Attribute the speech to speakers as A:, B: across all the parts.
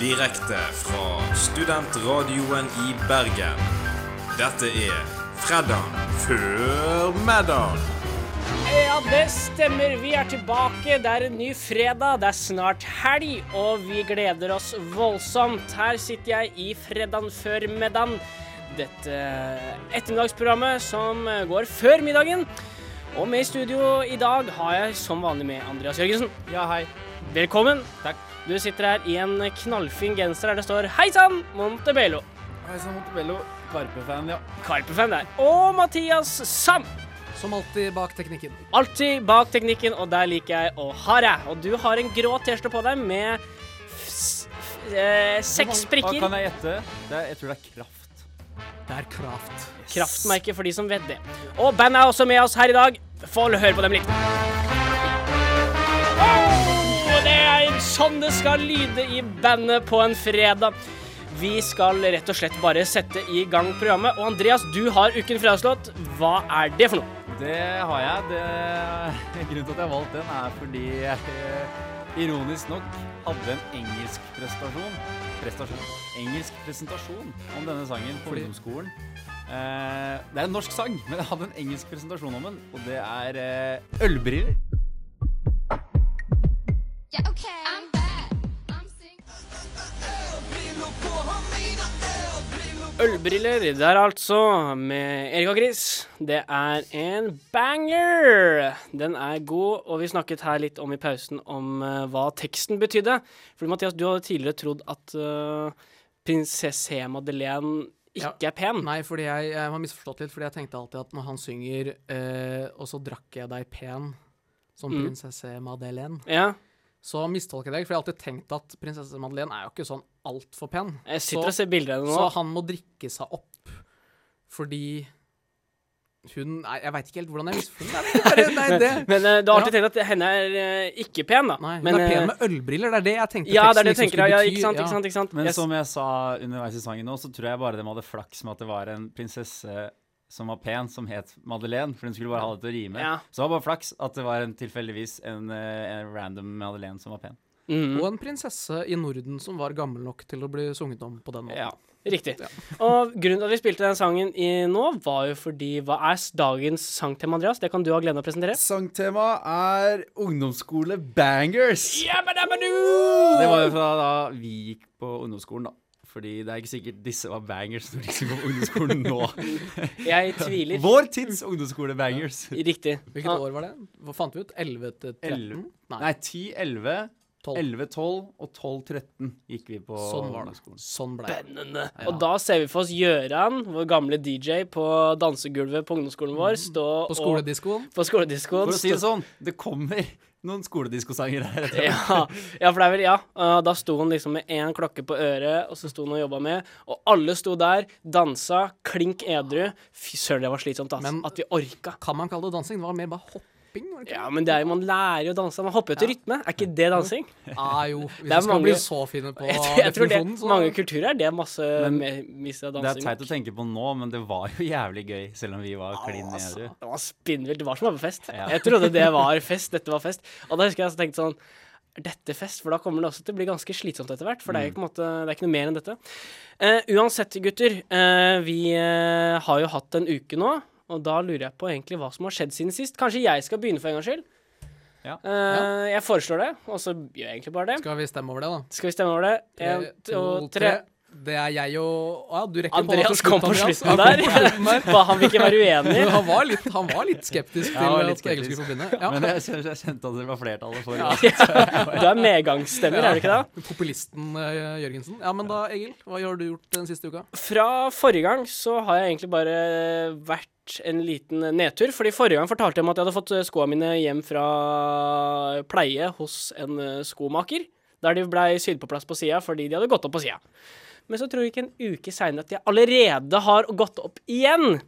A: Direkte fra studentradioen i Bergen. Dette er Fredag før middag.
B: Eh, Ja, det stemmer. Vi er tilbake. Det er en ny fredag. Det er snart helg, og vi gleder oss voldsomt. Her sitter jeg i fredagen før middagen. Dette ettermiddagsprogrammet som går før middagen. Og med i studio i dag har jeg som vanlig med Andreas Jørgensen.
C: Ja, hei.
B: Velkommen.
C: Takk.
B: Du sitter her i en knallfin genser der det står 'Hei sann, Montebello'.
C: Hei sann, Montebello. Karpe-fan, ja.
B: Karpe-fan der. Og Mathias Sand.
C: Som alltid bak teknikken.
B: Alltid bak teknikken, og der liker jeg å ha deg. Og du har en grå T-skjorte på deg med f s- f eh, seks
C: Og kan
B: prikker.
C: jeg gjette? Det er, jeg tror det er kraft. Det er kraft.
B: Kraftmerke for de som vet det. Og bandet er også med oss her i dag. Få høre på dem litt. Oh, det er sånn det skal lyde i bandet på en fredag. Vi skal rett og slett bare sette i gang programmet. Og Andreas, du har Uken fredagslåt. Hva er det for noe?
C: Det har jeg. Det, grunnen til at jeg har valgt den, er fordi jeg eh, ironisk nok hadde en engelsk prestasjon. Prestasjon. Engelsk presentasjon om denne sangen på ungdomsskolen. Eh, det er en norsk sang, men jeg hadde en engelsk presentasjon om den, og det er eh, ølbriller.
D: Yeah, okay. I'm back. I'm single.
B: Ølbriller der altså, med Erik og Chris. Det er en banger! Den er god, og vi snakket her litt om i pausen om eh, hva teksten betydde. Fordi Mathias, du hadde tidligere trodd at eh, prinsesse Madeleine ikke er pen.
E: Nei, fordi jeg, jeg har misforstått litt, fordi jeg tenkte alltid at når han synger eh, 'Og så drakk jeg deg pen', som
B: Mm.
E: prinsesse Madeleine,
B: Ja,
E: så mistolker jeg deg, for jeg har alltid tenkt at prinsesse Madeleine er jo ikke sånn altfor pen.
B: jeg
E: Så-
B: sitter og ser bilder av henne
E: Så
B: nå.
E: han må drikke seg opp fordi hun Nei, jeg veit ikke helt hvordan jeg misforstår det. Nei, det.
B: Men eh, du har alltid tenkt at henne er eh, ikke pen, da.
E: Nei, hun
B: Men,
E: er
B: eh,
E: pen med ølbriller, det er det jeg tenkte
B: ja, det
E: teksten
B: er det jeg
E: liksom
B: tenker. Ja,
E: skulle
B: ikke sant,
E: bety,
B: ikke sant. ikke sant.
C: Men
B: Jeg s-
C: som jeg sa underveis i sangen nå, så tror jeg bare de hadde flaks med at det var en prinsesse som var pen, som het Madeleine, for hun skulle bare ha det til å rime.
B: Ja.
C: Så det var bare flaks at det var en tilfeldigvis en, eh, en random Madeleine som var pen.
B: Mm.
E: Og en prinsesse i Norden som var gammel nok til å bli sunget om på den måten.
C: Ja.
B: Riktig. Og grunnen til at vi spilte den sangen i nå, var jo fordi Hva er s- dagens sangtema, Andreas? Det kan du ha gleden av å presentere.
C: Sangtemaet er ungdomsskole bangers. Det
B: Det
C: var jo fra da vi gikk på ungdomsskolen, da. Fordi det er ikke sikkert disse var bangers når de som går på ungdomsskolen nå.
B: Jeg tviler.
C: Vår tids ungdomsskole-bangers.
B: Riktig.
E: Hvilket år var det? Hva fant vi ut? 11 til 13?
C: Elleve. Nei, 10, 11,
E: 12.
C: 11, 12 og 12, 13 gikk vi på
E: Sånn var det.
C: ungdomsskolen.
E: Sånn ble det.
B: Spennende. Og da ser vi for oss Gøran, vår gamle DJ, på dansegulvet på ungdomsskolen vår, stå
E: På skolediskoen.
B: og På skolediskoen.
C: For å si det
B: stå-
C: sånn, det kommer noen skolediskosanger her. etter hvert.
B: Ja, ja, for det er vel, ja. Uh, Da sto han liksom med én klokke på øret, og så sto han og jobba med, og alle sto der, dansa, klink edru. Fy søren, det var slitsomt, ass.
E: Men-
B: At de orka.
E: Kan man kalle det dansing? Det var mer bare hopping? Var det ikke?
B: Ja, men det er jo, man lærer jo å danse. Man hopper jo til rytme. Er ikke det dansing?
E: Ah, jo,
B: er
E: hvis vi skal
B: mange-
E: bli så fine på
B: Jeg, tror- jeg tror det,
E: definisjonen, så
B: mange kulturer er det masse
C: Men
B: med- misse dansing.
C: Det er teit å tenke på nå, men det var jo jævlig gøy, selv om vi var
E: Ah, altså,
C: klin edru.
B: Det var spinnvilt. Det var som å være på fest.
C: Ja.
B: Jeg trodde det var fest. Dette var fest. Og da husker jeg jeg tenkte sånn er dette fest, for da kommer det også til å bli ganske slitsomt etter hvert. For det er jo
C: Mm.
B: på en måte, det er ikke noe mer enn dette. Eh, uansett, gutter. eh, vi eh, har jo hatt en uke nå, og da lurer jeg på egentlig hva som har skjedd siden sist. Kanskje jeg skal begynne for en gangs skyld?
C: Ja.
B: Eh, Jeg foreslår det, og så gjør jeg egentlig bare det.
E: Skal vi stemme over det, da?
B: Skal vi stemme over det?
E: Tre,
B: En, to,
E: to,
B: tre.
E: Det er jeg og ah, ja, Du rekker
B: Andreas kom på slutten
E: Ja,
B: der.
E: kom på slutten der.
B: Hva, han vil ikke være uenig.
E: Men Han var litt, han var litt skeptisk
C: Jeg
E: til
C: var
E: at
C: litt
E: Egil
C: skeptisk.
E: skulle forbinde. Ja.
B: eh,
C: Men jeg, kjente- jeg kjente at det var flertallet for
B: Du er medgangsstemmer, er du ikke det?
E: Populisten eh, Jørgensen. Ja, men da, Egil, hva har du gjort den siste uka?
B: Fra forrige gang så har jeg egentlig bare vært en liten nedtur. Fordi forrige gang fortalte jeg om at jeg hadde fått eh, skoene mine hjem fra pleie hos en eh, skomaker. Der de blei sydd på plass på sida fordi de hadde gått opp på sida. Men så tror jeg ikke en uke seinere at de allerede har gått opp igjen.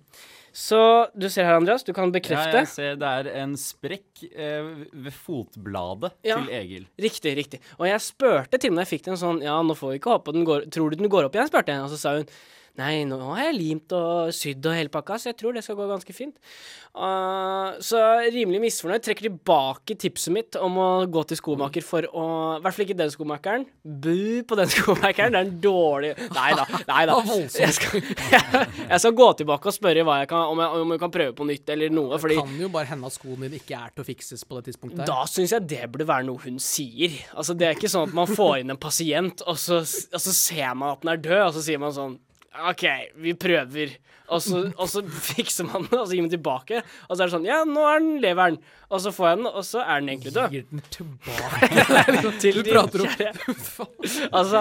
B: Så du ser her, Andreas, du kan
C: Ja,
B: bekrefte.
C: jeg ser det er en sprekk eh, ved fotbladet
B: Ja.
C: til Egil.
B: Riktig, riktig. Og jeg spurte til og med jeg fikk den sånn Ja, nå får vi ikke håpe den går Tror du den går opp igjen? spurte jeg. Og så sa hun Nei, nå har jeg limt og sydd og hele pakka, så jeg tror det skal gå ganske fint. Ah, så rimelig misfornøyd. Trekker tilbake tipset mitt om å gå til skomaker for å I hvert fall ikke den skomakeren. Bu på den skomakeren. Det er en dårlig Nei da. Nei da.
E: Det var voldsomt.
B: Jeg skal, jeg skal gå tilbake og spørre hva jeg kan, om, jeg, om jeg kan prøve på nytt eller noe, fordi
E: Kan jo bare hende at skoen din ikke er til å fikses på det tidspunktet. her.
B: da syns jeg det burde være noe hun sier. Altså, det er ikke sånn at man får inn en pasient, og så, og så ser man at den er død, og så sier man sånn OK, vi prøver. Og så, og så fikser man den, og så gir man tilbake. Og så er det sånn Ja, nå er den leveren. Og så får jeg den, og så er den egentlig død.
E: Gir den tilbake.
B: liksom Til
E: Du
B: de
E: prater om
B: kjære.
E: Faen.
B: Altså,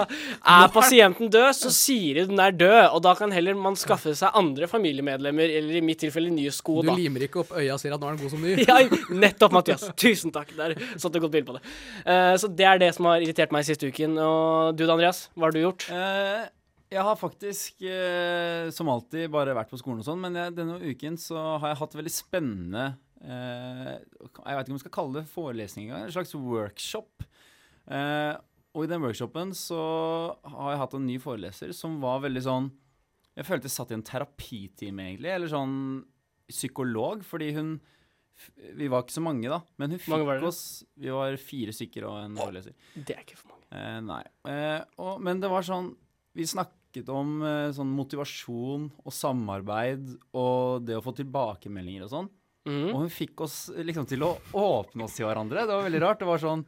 B: er pasienten død, så sier de den er død, og da kan heller man skaffe seg andre familiemedlemmer, eller i mitt tilfelle nye sko,
E: Du
B: da.
E: limer ikke opp øya og sier at nå er den god som ny.
B: Ja, nettopp, Mathias. Tusen takk. Der satte du godt bilde på det. Eh, så det er det som har irritert meg siste uken. Og du da, Andreas? Hva har du gjort?
C: Eh, jeg har faktisk eh, som alltid bare vært på skolen og sånn, men jeg, denne uken så har jeg hatt veldig spennende eh, Jeg vet ikke om jeg skal kalle det forelesning engang, en slags workshop. Eh, og i den workshopen så har jeg hatt en ny foreleser som var veldig sånn Jeg følte jeg satt i en terapitime, egentlig, eller sånn psykolog, fordi hun Vi var ikke så mange, da, men hun
B: mange var
C: fikk
B: dere?
C: oss Vi var fire stykker og en foreleser.
B: Det er ikke for mange.
C: Eh, nei. Eh, og, men det var sånn Vi snakket om eh, sånn motivasjon og samarbeid og det å få tilbakemeldinger og sånn.
B: Mhm.
C: Og hun fikk oss liksom til å åpne oss til hverandre. Det var veldig rart. Det var sånn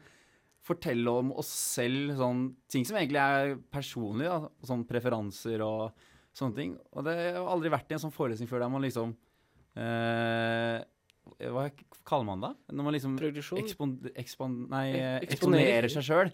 C: Fortelle om oss selv, sånn ting som egentlig er personlig, da. Sånn preferanser og sånne ting. Og det jeg har aldri vært i en sånn forelesning før der man liksom eh, Hva kaller man det? Når man liksom
B: Progresjon?
C: Ekspon, ekspon, nei, eh,
B: Eksponerer.
C: eksponerer seg sjøl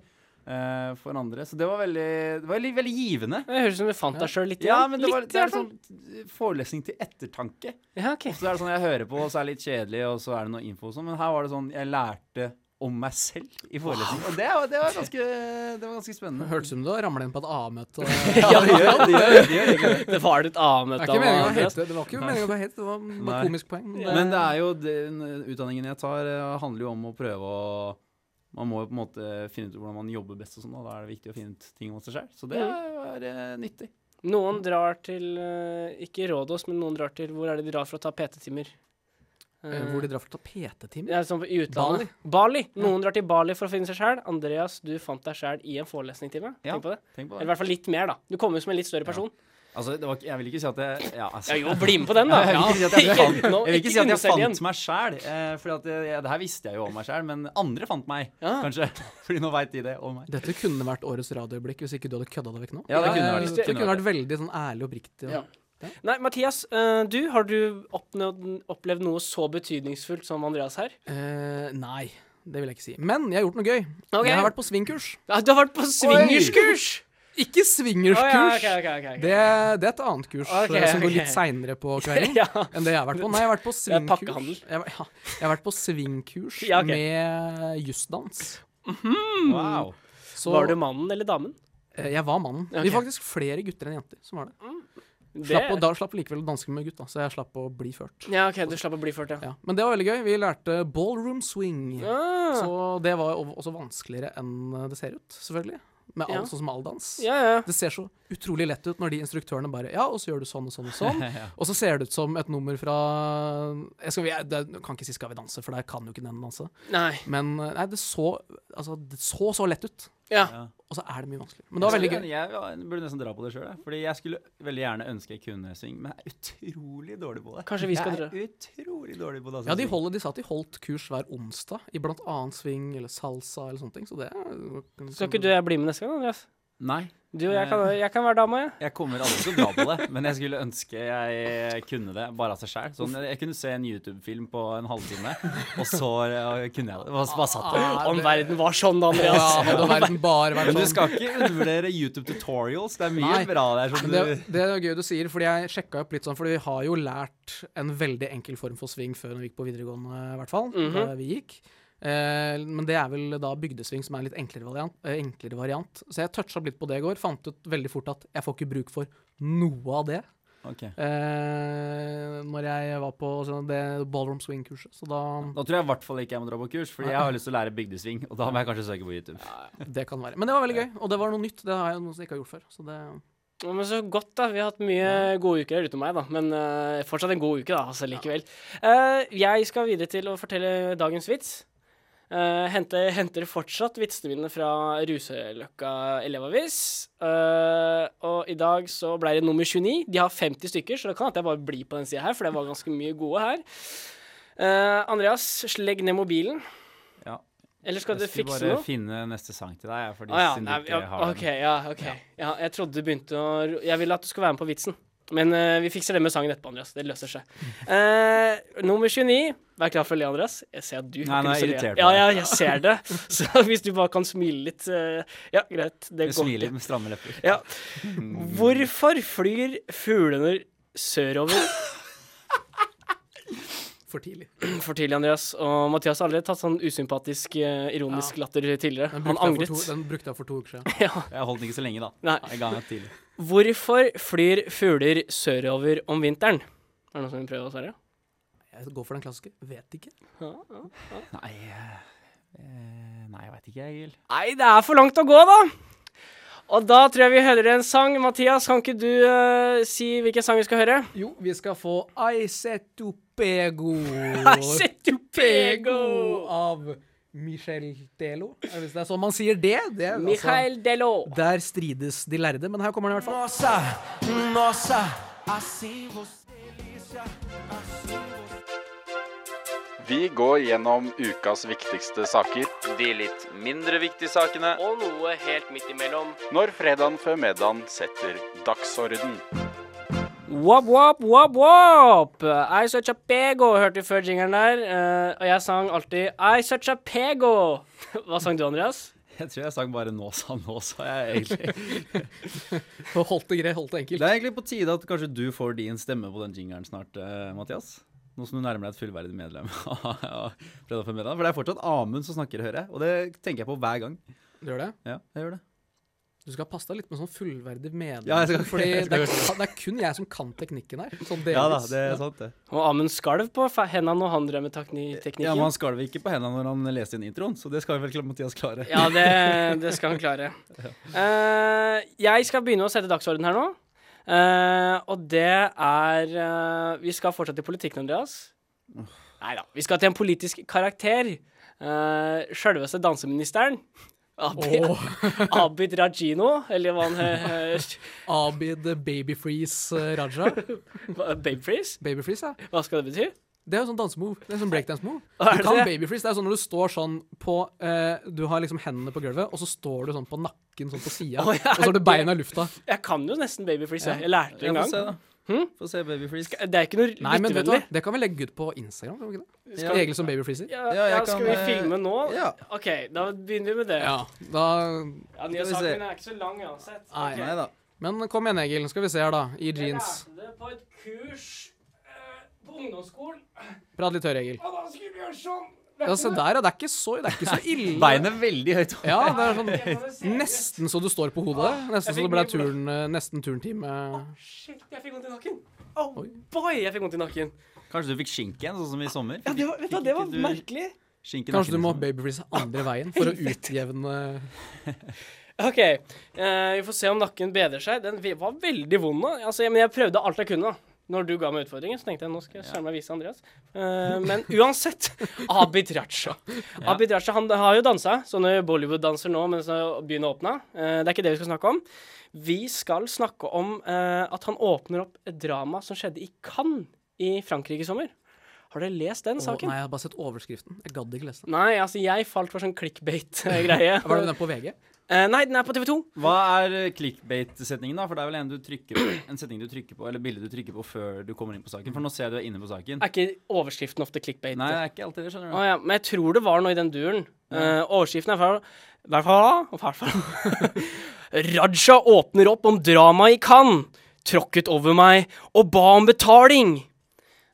C: for andre. Så det var veldig, det var veldig, veldig givende.
B: Det høres ut som du fant deg sjøl litt
C: Ja,
B: igjen.
C: men det, var,
B: litt, i
C: det er
B: hvert fall.
C: sånn forelesning til ettertanke.
B: Ja, ok.
C: Så det er det sånn jeg hører på, og så er det litt kjedelig, og så er det noe info og sånn. Men her var det sånn jeg lærte om meg selv i forelesning. Og det, var- det, var, ganske, det var ganske spennende.
E: Hørtes ut som du ramla inn på et A-møte. og-
C: Ja, det gjør, det gjør, det gjør, det gjør.
B: Det var litt
E: Det
B: A-møte.
E: er ikke
B: av
E: meningen å
B: Andreas.
E: hete Det var ikke meningen å hete, det var
C: Nei.
E: bare komisk poeng. men det-
C: Men det er jo den utdanningen jeg tar, eh, handler jo om å prøve å Man må jo på en måte finne ut hvordan man jobber best og sånn, og da er det viktig å finne ut ting om seg selv. Så det er eh, nyttig.
B: Noen drar til eh, Ikke Rådås, men noen drar til Hvor er det de drar for å ta PT-timer?
E: Eh,
B: Eh,
E: Hvor de drar for å ta PT-timer?
B: ja, sånn I utlandet. Bali. Noen drar til Bali for å finne seg sjæl. Andreas, du fant deg sjæl i en forelesningstime.
C: Ja.
B: Tenk på det.
C: Tenk
B: Eller i
C: på det.
B: hvert fall litt mer, da. Du kom jo som en litt større person.
C: Altså, det var, ikke- jeg vil ikke si at jeg ja, altså,
B: Ja, jo, bli med på den, da.
C: Jeg vil ikke si at jeg fant,
B: Ikke- nå-
C: jeg vil ikke si at jeg
B: underselg igjen.
C: fant meg sjæl. Eh, for at jeg, jeg- det her visste jeg jo om meg sjæl, men andre fant meg,
B: Ja.
C: kanskje. Fordi nå veit de det om meg.
E: Dette kunne vært årets radioøyeblikk hvis ikke du hadde kødda det vekk nå.
C: Ja, det kunne
E: Eh,
C: vært-
E: det
C: kunne
E: kunne vært veldig sånn ærlig og oppriktig. og-
B: Ja. Nei, Mathias, eh, du, har du oppnådd, opplevd noe så betydningsfullt som Andreas her?
E: Eh, nei, det vil jeg ikke si. Men jeg har gjort noe gøy.
B: Ok.
E: Jeg har vært på swingkurs.
B: Ja, du har vært på swingerskurs!
E: Ikke swingerskurs!
B: Å, ja, ok, ok, ok, ok.
E: Det, det er et annet kurs
B: Ok,
E: eh, som går
B: ok.
E: litt seinere på kvelden.
B: Ja.
E: enn det jeg har vært på. Nei, jeg har vært på
B: er
E: swingkurs.
B: pakkehandel.
E: Jeg, var- ja, jeg har vært på swingkurs
B: Ja, ok.
E: med jussdans.
B: Mm.
C: Wow.
E: Så
B: Var du mannen eller damen?
E: eh, jeg var mannen. Vi
B: Ok.
E: var faktisk flere gutter enn jenter som var det.
B: Det-
E: Slapp å, da slapp vi likevel å danse med gutta, så jeg slapp å bli ført.
B: Ja, OK, du slapp å bli ført, ja.
E: Ja. Men det var veldig gøy. Vi lærte ballroom swing.
B: Ah,
E: Så det var jo også vanskeligere enn eh, det ser ut, selvfølgelig. Med all,
B: Ja.
E: sånn som all dans.
B: ja, ja.
E: Det ser så utrolig lett ut når de instruktørene bare Ja, og så gjør du sånn og sånn og sånn. Og så ser det ut som et nummer fra jeg skal, jeg, det, jeg kan ikke si 'Skal vi danse', for der kan jo ikke den danse.
B: Nei.
E: Men eh, nei, det så, altså, det så så lett ut,
B: Ja.
E: og så er det mye vanskeligere. Men det var veldig gøy.
C: Jeg, jeg burde nesten dra på det sjøl, fordi jeg skulle veldig gjerne ønske jeg kunne synge, men jeg er utrolig dårlig på det.
B: Kanskje vi skal
C: jeg er utrolig dårlig på det. altså.
E: Ja, de, holder, de sa at de holdt kurs hver onsdag i blant annet swing eller salsa eller sånne ting, så det er-
B: Skal ikke du og jeg bli med neste gang, Andreas?
C: Nei,
B: Du
C: Eh.
B: og jeg kan, jeg kan være dama, jeg.
C: jeg kommer aldri til å dra på det, men jeg skulle ønske jeg kunne det bare av seg sjøl. Sånn, jeg kunne se en YouTube-film på en halvtime, og så eh, kunne jeg det. Bare, bare satt der.
E: Ja,
B: Om
E: det-
B: verden var sånn, da,
E: Ja,
B: Andreas.
E: hadde verden bare vært
C: Men du
E: sånn.
C: skal ikke undervurdere YouTube tutorials. Det er mye
E: Nei,
C: bra der. Som
E: Men
C: du,
E: det, det er gøy du sier, fordi jeg sjekka opp litt sånn, fordi vi har jo lært en veldig enkel form for sving før når vi gikk på videregående, i hvert fall. Da vi gikk. Eh, men det er vel da bygdesving som er en litt enklere variant. eh, enklere variant. Så jeg toucha opp litt på det i går. Fant ut veldig fort at jeg får ikke bruk for noe av det
C: Ok.
E: eh, når jeg var på sånn, det ballroom swing-kurset. Så da
C: Da tror jeg i hvert fall ikke jeg må dra på kurs, fordi jeg har lyst til å lære bygdesving. Og da må jeg kanskje søke på YouTube.
E: Det kan være. Men det var veldig gøy, og det var noe nytt. Det har jeg noe som jeg ikke har gjort før. Så det
B: Ja, Men så godt, da. Vi har hatt mye gode uker her utenom meg, da. Men eh, fortsatt en god uke, da, altså likevel. Eh, jeg skal videre til å fortelle dagens vits. Eh, henter, henter fortsatt vitsene mine fra Ruseløkka elevavis. Eh, og i dag så ble det nummer 29. De har 50 stykker, så det kan at jeg bare blir på den sida her, for det var ganske mye gode her. Eh, Andreas, legg ned mobilen.
C: Ja.
B: Eller skal du
C: Jeg skulle
B: fikse
C: bare
B: noe?
C: finne neste sang til deg, jeg, fordi
B: Ah, ja.
C: siden du
B: Nei,
C: ikke
B: ja,
C: har den.
B: OK. Ja, ok. Ja, jeg trodde du begynte å ro- Jeg ville at du skulle være med på vitsen. Men eh, vi fikser det med sangen etterpå, Andreas. Det løser seg. Eh, nummer 29. Vær klar for å le, Andreas. Jeg ser at du
C: Nei, nå er
B: lyst til å
C: jeg irritert
B: le. Ja, ja, jeg ser det. Så hvis du bare kan smile litt eh, Ja, greit. Det
C: Jeg
B: går.
C: smiler med stramme lepper.
B: Ja. Hvorfor flyr fuglene sørover?
E: For tidlig.
B: For tidlig, Andreas. Og Mathias har allerede tatt sånn usympatisk, eh, ironisk latter tidligere.
E: Den
B: Han angret.
E: brukte, jeg for to, den brukte jeg for to uker siden.
B: Ja.
C: Jeg holdt den ikke så lenge, da.
B: Nei.
C: En gang tidlig.
B: Hvorfor flyr fugler sørover om vinteren? Er det noen som vil prøve å svare?
E: Jeg går for den klassiske. Vet ikke.
C: Nei, eh, eh, nei jeg veit ikke, Egil.
B: Nei, det er for langt å gå, da! Og da tror jeg vi hører en sang. Mathias, kan ikke du eh, si hvilken sang vi skal høre?
E: Jo, vi skal få Aisetupego.
B: Setupego!
E: Av Michel Delo. Er det- Hvis det er sånn man sier det. det er altså-
B: Michael Delo.
E: Der strides de lærde, men her kommer den i hvert fall.
F: Vi går gjennom ukas viktigste saker. De litt mindre viktige sakene.
B: Og noe helt midt imellom.
F: Når fredagen før middagen setter dagsorden.
B: Wop, wop, wop, wop! I such a pego, hørte vi før jingeren der. eh, og jeg sang alltid I such a pego. Hva sang du, Andreas?
C: Jeg tror jeg sang bare 'Nå sa, nå sa jeg', egentlig.
E: Og Holdt det greit, holdt det enkelt.
C: Det er egentlig på tide at kanskje du får din stemme på den jingeren snart, eh, Mathias. Nå som du nærmer deg et fullverdig medlem av Fredag for middag. For det er fortsatt Amund som snakker, hører jeg. Og det tenker jeg på hver gang.
E: Du gjør det?
C: Ja, jeg gjør det.
E: Du skal passe deg litt med sånn fullverdig medlem.
C: Ja, jeg skal-
E: fordi
C: jeg skal
E: det,
C: gjøre
E: er, det er kun jeg som kan teknikken her. Sånn delvis.
C: Ja da, det er sant, det.
B: Og Amund skalv på fe- hendene når han drev med tekni- teknikken.
C: Ja, men han skalv ikke på hendene når han leste inn introen, så det skal vel klart Mathias klare.
B: Ja, det, det skal han klare. Eh, jeg skal begynne å sette dagsorden her nå. Eh, og det er eh, Vi skal fortsatt til politikken, Andreas. Nei da. Vi skal til en politisk karakter. Uh, Sjølveste danseministeren. Abid,
C: sånn.
B: Abid Rajino, eller hva han heter.
E: Abid Babyfreeze eh, Raja.
B: Babefreeze?
E: Babyfreeze, ja.
B: Hva skal det bety?
E: Det er jo sånn dansemove. Det er sånn breakdance-move.
B: Er
E: Du
B: det
E: kan
B: det?
E: babyfreeze. Det er sånn når du står sånn på eh, Du har liksom hendene på gulvet, og så står du sånn på nakken sånn på sida,
B: Å, ja,
E: og så har du
B: det-
E: beina i lufta.
B: Jeg kan jo nesten Babyfreeze. Jeg lærte det
C: Ja,
B: en
C: Få se,
B: gang.
C: da. Få se Babyfreeze.
B: Det er ikke noe
E: Nei, men vet du
B: lyttevennlig.
E: hva, det kan vi legge ut på Instagram. Kan vi ikke det?
C: Ja.
E: Egil som babyfreezer.
B: Ja,
C: Ja, jeg
B: ja,
C: kan,
B: skal vi
C: eh,
B: filme nå?
C: ja.
B: OK, da begynner vi med det.
E: Ja, da
B: Ja, nye
C: Skal vi se.
B: saken er ikke så lang uansett.
E: Nei.
B: Ok.
C: Nei da.
E: Men kom igjen, Egil. Skal vi se her, da. I
B: Jeg
E: jeans.
B: lærte det på et kurs eh, på ungdomsskolen.
E: Prat litt høyere, Egil.
B: Og da skulle vi gjøre sånn.
E: Ja, se der, ja. Det er ikke så, det er ikke så ille.
C: Beinet veldig høyt opp.
E: Ja, det er sånn
B: Jeg kan jo se-
E: Nesten så du står på hodet. Nesten så det ble turn, nesten turntime.
B: Shit, jeg fikk vondt i nakken. Oh boy, jeg fikk vondt i nakken.
C: Kanskje du fikk skinke igjen, sånn som i sommer?
B: Ja, det var, vet du, hva, det var merkelig.
C: Skinken
E: Kanskje du må babyfreeze andre veien for å utjevne
B: OK, eh, vi får se om nakken bedrer seg. Den ve- var veldig vond nå. Altså, jeg, men jeg prøvde alt jeg kunne. da. Når du ga meg utfordringen, så tenkte jeg nå skal jeg søren meg vise Andreas. Eh, men uansett, Abid Raja. Abid Raja han har jo dansa, sånne Bollywood-danser nå mens eh, byen åpna. Eh, det er ikke det vi skal snakke om. Vi skal snakke om eh, at han åpner opp et drama som skjedde i Cannes i Frankrike i sommer. Har dere lest den
E: Å, Nei,
B: saken?
E: jeg har bare sett overskriften. Jeg gadd ikke lese den.
B: Nei, altså jeg falt for sånn clickbait-greie.
E: Var det den på VG?
B: Eh, nei, den er på TV 2.
C: Hva er eh, clickbait-setningen, da? For det er vel en, du trykker på, en setning du trykker på, eller bilde du trykker på før du kommer inn på saken. For nå ser jeg du er inne på saken.
B: Er ikke overskriften ofte clickbait?
C: Nei, det er ikke alltid det, skjønner du.
B: Å ja, men jeg tror det var noe i den duren. Eh, overskriften er fra hvert fall- hvert fall- Raja åpner opp om dramaet i Cannes. Tråkket over meg og ba om betaling.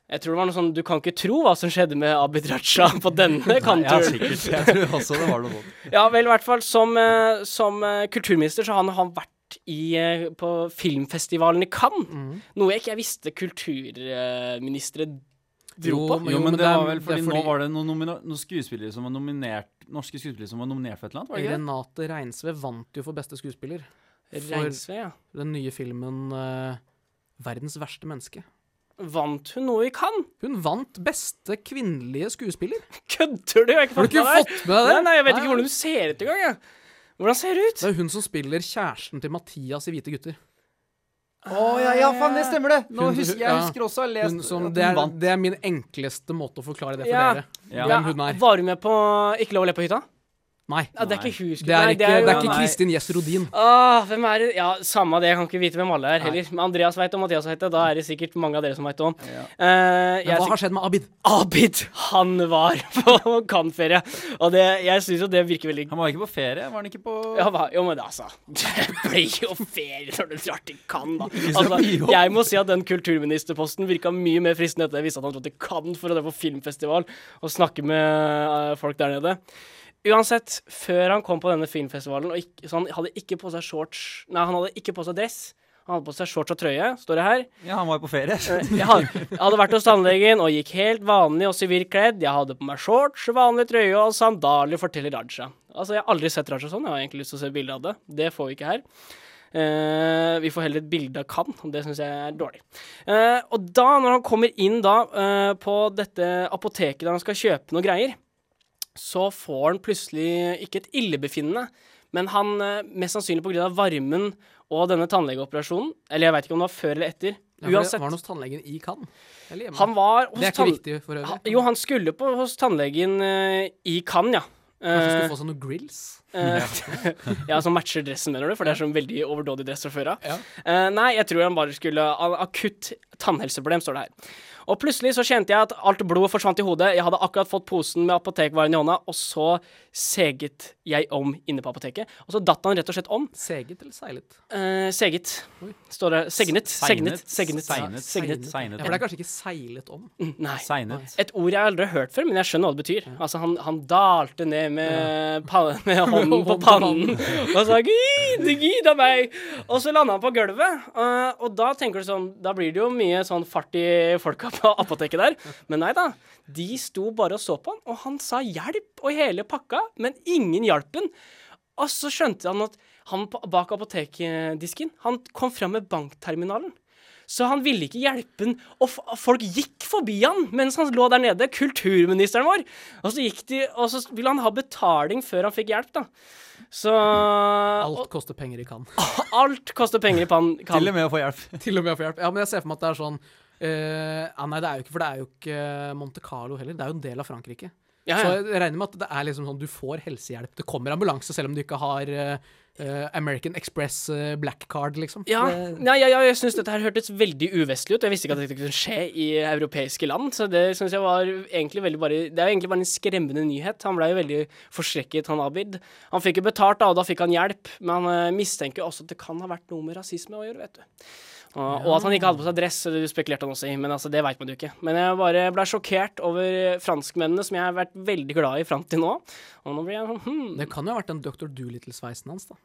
B: Jeg tror det var noe sånn Du kan ikke tro hva som skjedde med Abid Raja på denne
C: Ja,
B: kanturen.
C: sikkert. Jeg tror også det var noe sånt.
B: Ja vel, i hvert fall som, eh, som eh, kulturminister så har han, han vært i, eh, på filmfestivalen i Cannes.
C: Mm.
B: Noe jeg ikke visste kulturministre dro på.
C: Jo, men det
E: er-
C: var vel fordi,
E: er
C: nå var det noen, nomina- noen skuespillere som var nominert Norske skuespillere som var nominert for et eller annet, var det ikke det?
E: Renate Reinsve vant jo for beste skuespiller.
B: Reinsve, ja.
E: Den nye filmen eh, 'Verdens verste menneske'.
B: Vant hun noe i Cannes?
E: Hun vant beste kvinnelige skuespiller.
B: Kødder du? Jeg har ikke
E: Har
B: fått
E: du ikke
B: med meg det.
E: fått med deg det?
B: Nei, nei, jeg vet ikke hvordan du ser ut engang. jeg. Hvordan ser du ut?
E: Det er hun som spiller kjæresten til Mathias i 'Hvite gutter'.
G: Å ja, ja, faen, det stemmer det! Nå
E: Hun-
G: hus jeg
E: ja.
G: husker også å ha lest
E: Hun som,
G: at
E: det, er,
G: vant.
E: det er min enkleste måte å forklare det for
B: Ja.
E: dere.
C: Ja.
E: Hvem hun er.
B: Var hun med på Ikke lov å le på hytta?
E: Nei.
B: Ja, det er ikke hun.
E: Det er
B: Nei,
E: ikke, det er
B: jo-
E: ikke
C: nei.
E: Kristin Gjess Rodin.
B: Åh, hvem er det? Ja, Samme det, jeg kan ikke vite hvem alle er heller. Men Andreas veit og Mathias veit det. Da er det sikkert mange av dere som veit det om. Eh, jeg er
E: Men hva
B: sikker-
E: har skjedd med Abid?
B: Abid, han var på Cannes-ferie. Og det, jeg syns jo det virker veldig
C: Han var ikke på ferie, var han ikke på
B: ja, hva? Jo, men altså Det blir jo ferie når du drar til Cannes, da.
C: skal
B: Altså,
C: bli opp.
B: jeg må si at den kulturministerposten virka mye mer fristende etter at jeg visste at han dro til Cannes for å dra på filmfestival og snakke med eh, folk der nede. Uansett, før han kom på denne filmfestivalen og ikke, Så han hadde ikke på seg shorts Nei, han hadde ikke på seg dress. Han hadde på seg shorts og trøye, står det her.
C: Ja, han var jo på ferie.
B: Jeg hadde, jeg hadde vært hos tannlegen og gikk helt vanlig og sivilt kledd. Jeg hadde på meg shorts, vanlig trøye og sandaler, forteller Raja. Altså, jeg har aldri sett Raja sånn. Jeg har egentlig lyst til å se bilde av det. Det får vi ikke her. Eh, vi får heller et bilde av Kan, og det syns jeg er dårlig. Eh, og da, når han kommer inn da eh, på dette apoteket der han skal kjøpe noe greier, så får han plutselig ikke et illebefinnende, men han eh, mest sannsynlig pga. varmen og denne tannlegeoperasjonen Eller jeg veit ikke om det var før eller etter.
E: Ja, for det
B: Uansett.
E: Var han hos tannlegen i Cannes? Eller hjemme?
B: Han var hos
E: det er ikke
B: tann-
E: viktig for øvrig.
B: Ha- Jo, han skulle på, hos tannlegen eh, i Cannes, ja.
E: Kanskje han
B: Eh,
E: skulle få seg noen grills?
B: eh, ja, Som matcher dressen, mener du? For det er sånn veldig overdådig dress fra før av.
E: Ja.
B: Eh, nei, jeg tror han bare skulle ha akutt tannhelseproblem, står det her. Og plutselig så kjente jeg at alt blodet forsvant i hodet. Jeg hadde akkurat fått posen med apotekvaren i hånda, og så seget jeg om inne på apoteket. Og så datt han rett og slett om.
E: Seget eller seilet?
B: Eh, seget,
E: Oi.
B: står det. Segnet. Segnet. Segnet.
C: Segnet.
B: Segnet.
E: Ja, for det er kanskje ikke seilet om?
B: Mm, Nei.
C: Segnet.
B: Et ord jeg aldri har hørt før, men jeg skjønner hva det betyr. Altså, han, han dalte ned med, pa- med hånden på
E: Hånden på
B: pannen og sa 'gid, gid av meg', og så landa han på gulvet. eh, og da tenker du sånn Da blir det jo mye sånn fart i folka på apoteket der. Men nei da. De sto bare og så på han, og han sa 'hjelp' og hele pakka, men ingen hjalp han. Og så skjønte han at han på- bak apotekdisken Han kom fram med bankterminalen. Så han ville ikke hjelpe han, og f folk gikk forbi han mens han lå der nede. Kulturministeren vår. Og så gikk de Og så ville han ha betaling før han fikk hjelp, da. Så
E: Alt koster penger i Cannes.
B: og alt koster penger i pan. Kan.
C: Til og med å få hjelp.
E: Til og med å få hjelp. Ja, men jeg ser for meg at det er sånn eh, ja, Nei, det er jo ikke For det er jo ikke eh, Monte Carlo heller. Det er jo en del av Frankrike.
B: Ja,
E: Så
B: ja.
E: jeg regner med at det er liksom sånn du får helsehjelp. Det kommer ambulanse selv om du ikke har eh, eh, American Express eh, black card, liksom.
B: Ja,
E: Det-
B: ja, ja, ja jeg syns dette her hørtes veldig uvestlig ut. Jeg visste ikke at dette kunne skje i europeiske land. Så det synes jeg var egentlig veldig bare Det er jo egentlig bare en skremmende nyhet. Han blei jo veldig forskrekket, han Abid. Han fikk jo betalt, da, og da fikk han hjelp. Men han eh, mistenker jo også at det kan ha vært noe med rasisme å gjøre, vet du. Og, og at han ikke hadde på seg dress, det spekulerte han også i, men altså, det veit man jo ikke. Men jeg bare ble sjokkert over franskmennene, som jeg har vært veldig glad i fram til nå. Og nå blir jeg sånn hmm.
E: Det kan jo ha vært den Dr. Doolittle-sveisen hans, da.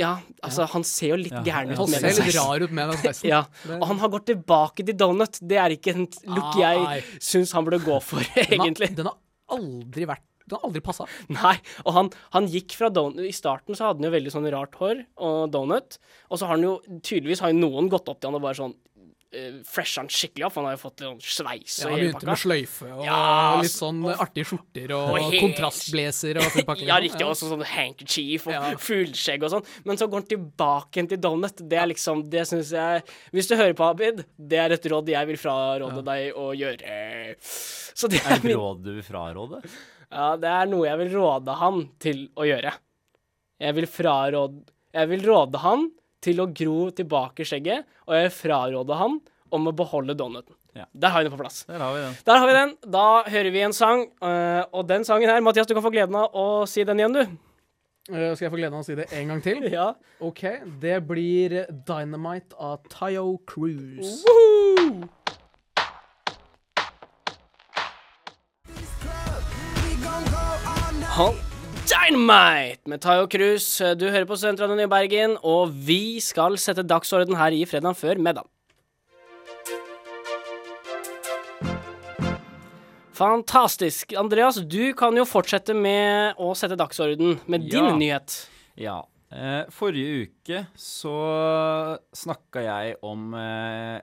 B: Ja, altså, han ser jo litt gæren ut.
E: Han
B: med
E: ser
B: den
E: litt rar ut med den sveisen.
B: altså- Ja, og han har gått tilbake til donut. Det er ikke en look
E: Ah, Nei.
B: jeg syns han burde gå for, egentlig.
E: Den har, den har aldri vært Den har aldri passa.
B: Nei, og han, han gikk fra donut I starten så hadde han jo veldig sånn rart hår og donut, og så har han jo tydeligvis har jo noen gått opp til han og bare sånn uh, fresha han skikkelig opp, for han har jo fått litt sånn sveis
E: Ja,
B: og
E: han
B: hele
E: begynte med
B: pakka.
E: sløyfe og
B: Ja,
E: litt sånn artige skjorter og,
B: og helt-
E: kontrastblazer og full pakke.
B: Ja, riktig. Og sånn handkerchief og fugleskjegg og sånn. Men så går han tilbake igjen til donut. Det er liksom Det syns jeg Hvis du hører på, Abid, det er et råd jeg vil fraråde deg å gjøre. Så det
C: Er
B: er
C: det et
B: min
C: råd du vil fraråde?
B: Ja, det er noe jeg vil råde han til å gjøre. Jeg vil fraråde Jeg vil råde han til å gro tilbake skjegget, og jeg vil fraråde han om å beholde donuten.
C: Ja.
B: Der har vi det på plass.
C: Der har vi den.
B: Der har vi den. Da hører vi en sang, øh, og den sangen her Mathias, du kan få gleden av å si den igjen, du.
E: Eh, Skal jeg få gleden av å si det en gang til?
B: Ja.
E: OK, det blir Dynamite av Tayo Cruise.
B: Woohoo! Hot Dynamite med Tayo Cruz. Du hører på Studentradioen i Bergen, og vi skal sette dagsorden her i fredagen før middag. Fantastisk. Andreas, du kan jo fortsette med å sette dagsorden med
C: Ja.
B: din nyhet.
C: Ja. eh, Eh, forrige uke så snakka jeg om eh,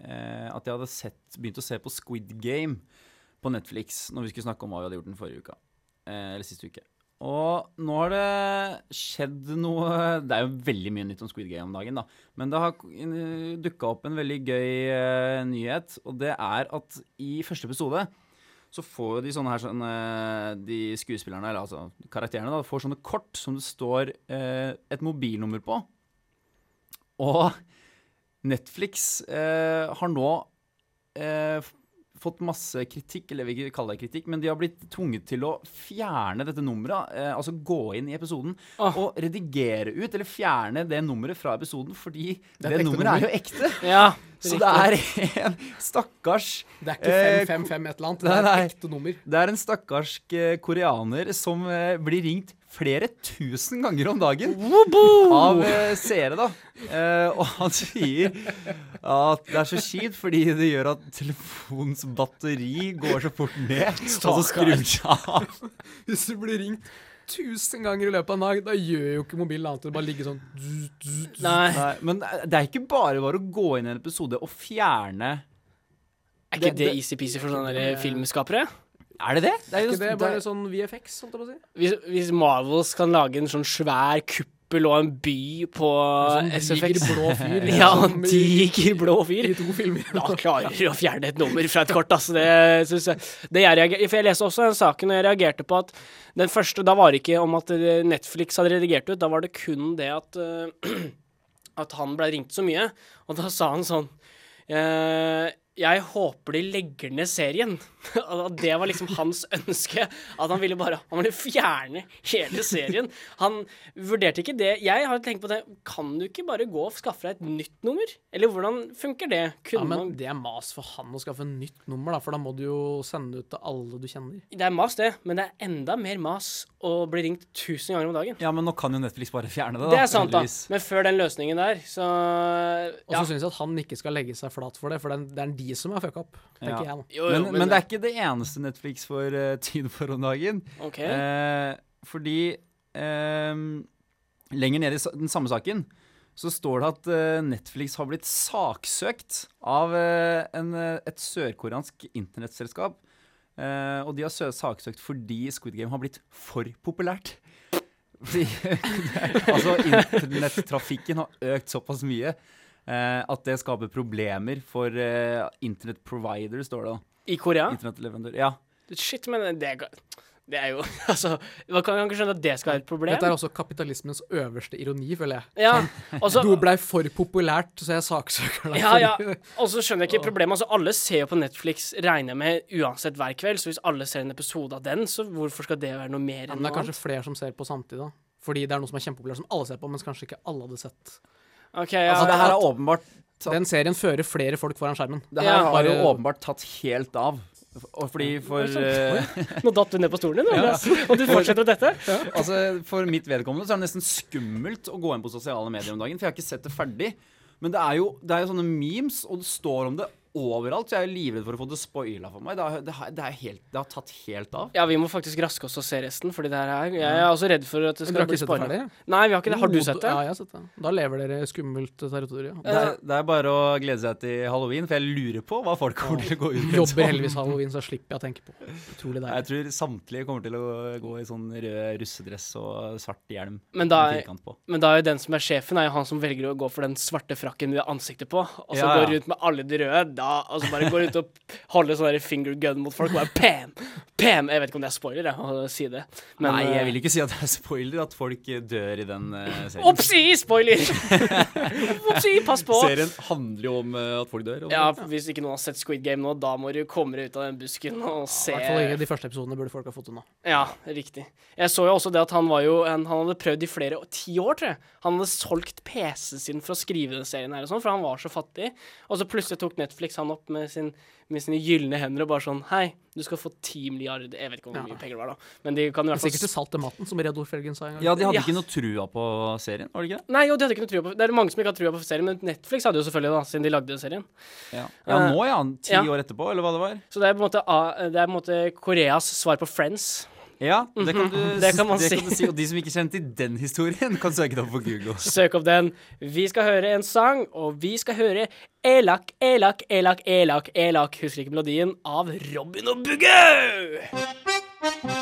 C: eh, at jeg hadde sett, begynt å se på Squid Game på Netflix når vi skulle snakke om hva vi hadde gjort den forrige uka. Eh, eller siste uke. Og nå har det skjedd noe Det er jo veldig mye nytt om Squid Game om dagen, da. Men det har dukka opp en veldig gøy eh, nyhet, og det er at i første episode så får jo de sånne her sånne, De skuespillerne, eller altså karakterene, da, får sånne kort som det står eh, et mobilnummer på. Og Netflix eh, har nå eh, f- fått masse kritikk, eller vi kaller det kritikk, men de har blitt tvunget til å fjerne dette nummeret. Eh, altså gå inn i episoden
B: Åh.
C: og redigere ut, eller fjerne det nummeret fra episoden, fordi
E: er
C: det,
E: et ekte
C: nummeret er jo ekte.
B: Ja,
C: Så det er en stakkars
E: Det er
C: Eh,
E: ikke 555 et eller annet.
C: nei,
E: Det er
C: nei.
E: et ekte nummer.
C: det er en stakkarsk eh, koreaner som eh, blir ringt flere tusen ganger om dagen av eh, seere, da. Eh, Og han sier at det er så kjipt fordi det gjør at telefonens batteri går så fort ned, og så skrur den seg av.
E: Hvis du blir ringt tusen ganger i løpet av en dag, da gjør jo ikke mobilen annet enn å bare ligge sånn dzz, dzz, dzz.
B: Nei.
C: Nei, men eh, det er ikke bare bare å gå inn i en episode og fjerne
B: Er ikke
C: Det-
B: det
C: det-
B: easy-peasy for sånne der eh, filmskapere?
C: Er det det? Det er
E: Er
C: jo
E: ikke det
C: det
E: bare sånn VFX, holdt jeg på å si?
B: Hvis, hvis Marvels kan lage en sånn svær kuppel og en by på
E: Sånn diger
B: SFX
E: blå sånn fyr. liksom,
B: Ja,
E: som i-
B: diger blå fyr.
E: I to filmer.
B: Da klarer du å fjerne et nummer fra et kort, altså. Det synes jeg. Det jeg reager- for jeg leste også den saken, og jeg reagerte på at den første Da var det ikke om at eh, Netflix hadde redigert ut, da var det kun det at eh, At han ble ringt så mye. Og da sa han sånn eh, Jeg håper de legger ned serien. Og at det var liksom hans ønske. At han ville bare Han ville fjerne hele serien. Han vurderte ikke det. Jeg har tenkt på det. Kan du ikke bare gå og skaffe deg et nytt nummer? Eller hvordan funker det?
E: Ja,
B: Kunne
E: men
B: man
E: det er mas for han å skaffe nytt nummer, da, for da må du jo sende ut til alle du kjenner.
B: Det er mas, det. Men det er enda mer mas å bli ringt tusen ganger om dagen.
C: Ja, men nå kan jo Netflix bare fjerne det, da.
B: Det er sant, da.
C: heldigvis.
B: Men før den løsningen der, så
E: Og
B: ja.
E: så synes syns jeg at han ikke skal legge seg flat for det, for det er- det er de som har fucka opp. tenker
C: Ja.
E: jeg nå.
B: Jo, jo,
C: men, men, det er ikke det eneste Netflix får eh, tid for om dagen.
B: OK.
C: Eh, fordi ehm, lenger nede i sa- den samme saken så står det at eh, Netflix har blitt saksøkt av eh, en, eh, et sørkoreansk internettselskap. Eh, og de har sø- saksøkt fordi Squid Game har blitt for populært. Fordi, altså, internettrafikken har økt såpass mye eh, at det skaper problemer for eh, internettprovider, står det da.
B: I Korea?
C: Internettleverandør. Ja.
B: Shit, men det er, ga- det er jo Altså, man kan man kan ikke skjønne at det skal være et problem.
E: Dette er Sånn. også kapitalismens øverste ironi, føler jeg.
B: ja, og så-
E: Du blei for populært, så jeg saksøker deg.
B: ja, ja.
E: for-
B: Og så skjønner jeg ikke problemet. Altså, alle ser jo på Netflix, regner jeg med, uansett hver kveld. Så hvis alle ser en episode av den, så hvorfor skal det være noe mer
E: Ja,
B: enn
E: men det
B: noe
E: er
B: annet?
E: kanskje flere som ser på samtidig, da. Fordi det er noe som er kjempepopulært, som alle ser på, mens kanskje ikke alle hadde sett.
B: Ok, ja,
C: Altså, det her
B: ja.
C: er åpenbart tatt
E: Den serien fører flere folk foran skjermen.
C: Det her
B: Ja.
C: har jo
E: Bare-
C: åpenbart tatt helt av. Og fordi for, eh,
B: Nå datt du ned på stolen din, Andreas. og du fortsetter med dette?
C: altså, for mitt vedkommende så er det nesten skummelt å gå inn på sosiale medier om dagen, for jeg har ikke sett det ferdig. Men det er jo, det er jo sånne memes, og det står om det overalt, så jeg er livredd for å få det spoila for meg. Det, er, det, har- det, er helt, det har tatt helt av.
B: Ja, vi må faktisk raske oss og se resten, fordi det her er Jeg er også redd for at det
E: Men
B: skal
E: dere har
B: bli
E: ikke sett det
B: spoilet.
E: ferdig?
B: Nei, vi har ikke det. Har du
E: Jo,
B: sett det?
E: Ja, jeg har sett det. Da lever dere i skummelt territorium.
C: Det
B: Eh.
C: er, det er bare å glede seg til halloween, for jeg lurer på hva folk kommer til å gå ut
E: Jobber heldigvis halloween, så slipper jeg å tenke på.
C: Jeg
E: Utrolig deilig.
C: tror samtlige kommer til å gå i sånn rød russedress og svart hjelm.
B: Men da er-
C: med firkant på.
B: Men da er jo den som er sjefen, er jo han som velger å gå for den svarte frakken med ansiktet på, og så
C: Ja, ja.
B: går rundt med alle de røde, da, og så bare går rundt og holder sånn der finger gun mot folk, og bare pam, pam. Jeg vet ikke om det er spoiler, jeg, å si det. eh,
C: Nei, jeg vil ikke si at det er spoiler at folk eh, dør i den eh, serien.
B: Opsi, spoiler! Opsi, pass på.
C: Serien handler jo om eh, at folk dør. og
B: Ja, hvis ikke noen har sett Squid Game nå, da må du komme deg ut av den busken og
E: I
B: se
E: hvert fall
C: Eh.
E: ikke de første episodene burde folk ha fått unna.
B: Ja, riktig. Jeg så jo også det at han var jo en, Han hadde prøvd i flere ti år, tror jeg. Han hadde solgt PC-en sin for å skrive den serien her og sånn, for han var så fattig. Og så plutselig tok Netflix han opp med, sin, med sine gylne hender og bare sånn Hei, du skal få ti milliarder Jeg vet ikke hvor
E: Ja.
B: mye penger det var, da, men de kan i
E: Men
B: hvert fall
E: Sikkert til salt til maten, som Reodor Felgen sa en gang.
C: Altså, Ja, de hadde
B: Ja.
C: ikke noe trua på serien, var det ikke det?
B: Nei, jo, de hadde ikke noe trua på Det er mange som ikke har trua på serien, men Netflix hadde jo selvfølgelig, da, siden de lagde den serien.
C: Ja, nå ja. Ti
B: ja.
C: år etterpå, eller hva det var.
B: Så det er på en måte, A- det er på en måte Koreas svar på Friends.
C: Ja, det kan du,
B: Mhm, det kan man si.
C: du si. Og de som ikke kjenner til den historien, kan søke det opp på Google.
B: Søk opp den. Vi skal høre en sang, og vi skal høre Elak, Elak, Elak, Elak, Elak. Husker ikke melodien av Robin og Bugge!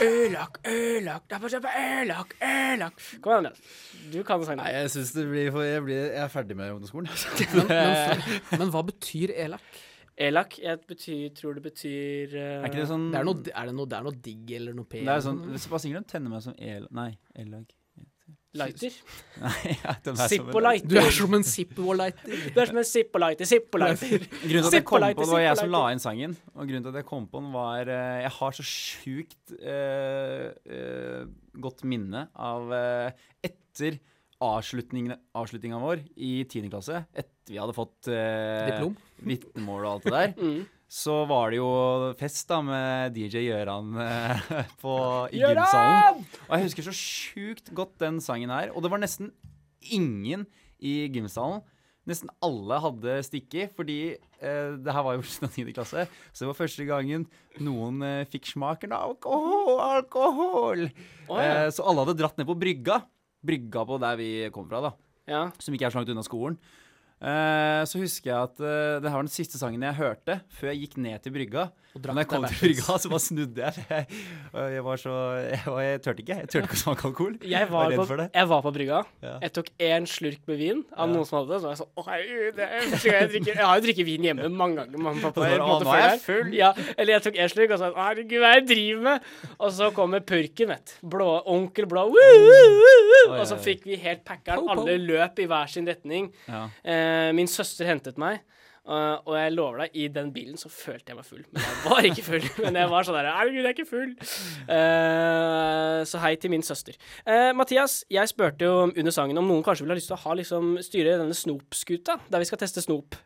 B: Elak, elak, da får jeg på elak, elak. Kom igjen, Andreas. Du kan sangen.
G: Nei, jeg syns det blir for jeg, blir, jeg er ferdig med ungdomsskolen.
E: Men, men, men hva betyr elak?
B: Elak, jeg betyr, tror det betyr eh,
C: Er ikke det sånn
E: Det er, noe, er det noe, det er noe digg eller noe pen?
C: Det er sånn Hva synger de? Tenner meg som el... Nei, ellag.
B: lighter?
C: Nei, ja, den er
B: Sipp
C: som-
B: og lighter.
E: Du er som en Zippo-lighter.
B: Du er som en sipp og lighter, sipp og lighter.
C: Grunnen til at jeg kom
B: Zippo-lighter,
C: på den, var jeg som la
B: Zippo-lighter.
C: inn sangen. Og grunnen til at jeg kom på den, var eh, Jeg har så sjukt eh, eh, godt minne av eh, Etter avslutningen- avslutninga vår i 10. klasse, etter vi hadde fått eh,
E: Diplom?
C: vitnemål og alt det der, så var det jo fest da med DJ Gjøran eh, på, i
B: Gjøran!
C: gymsalen. Og jeg husker så sjukt godt den sangen her. Og det var nesten ingen i gymsalen. Nesten alle hadde stikke, fordi eh, det her var jo slutten av 10. klasse. Så det var første gangen noen eh, fikk smaken av alkohol! alkohol.
B: ja.
C: eh, så alle hadde dratt ned på brygga. Brygga på der vi kom fra, da
B: Ja.
C: som ikke er så langt unna skolen. Eh, så husker jeg at eh, det her var den siste sangen jeg hørte før jeg gikk ned til brygga. Og
E: drakk
C: når jeg kom
E: deg
C: til brygga, så bare snudde jeg. Jeg, jeg var så Jeg, var, jeg turte ikke. Jeg turte ikke å smake alkohol.
B: Jeg var,
C: redd
B: på,
C: for det.
B: jeg var på brygga.
C: Ja.
B: Jeg tok én slurk med vin av noen som hadde det. Så var jeg sånn Å, herregud, det er første gang jeg drikker Jeg har jo drukket vin hjemme mange ganger. Mamma, og pappa,
C: Og så
B: jeg,
C: bare,
B: måtte
C: «Å, nå er
B: før
C: jeg
B: der». Ja, eller jeg tok én slurk, og så Å, herregud, hva er det jeg driver med? Og så kommer purken, vet du. Blå, onkel blå. «Woo, woo, woo, woo», Og så fikk vi helt packeren. Alle løp i hver sin retning.
C: Ja.
B: Eh, min søster hentet meg. eh, og jeg lover deg, i den bilen så følte jeg meg full. Men jeg var ikke full. Men jeg var sånn der Herregud, jeg er ikke full. Eh, så hei til min søster. Eh, Mathias, jeg spurte jo under sangen om noen kanskje ville ha lyst til å ha liksom, styre denne snopskuta, der vi skal teste snop.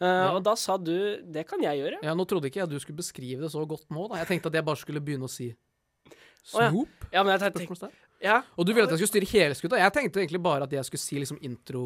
B: Eh, Og da sa du det kan jeg gjøre.
E: Ja, Nå trodde ikke jeg du skulle beskrive det så godt nå. da. Jeg tenkte at jeg bare skulle begynne å si
B: Å, ja.
E: Snoop?
B: Ja, men jeg tenkte
E: Spørsmålstegn.
B: ja.
E: Og du ville at jeg skulle styre hele skuta? Jeg tenkte egentlig bare at jeg skulle si liksom intro...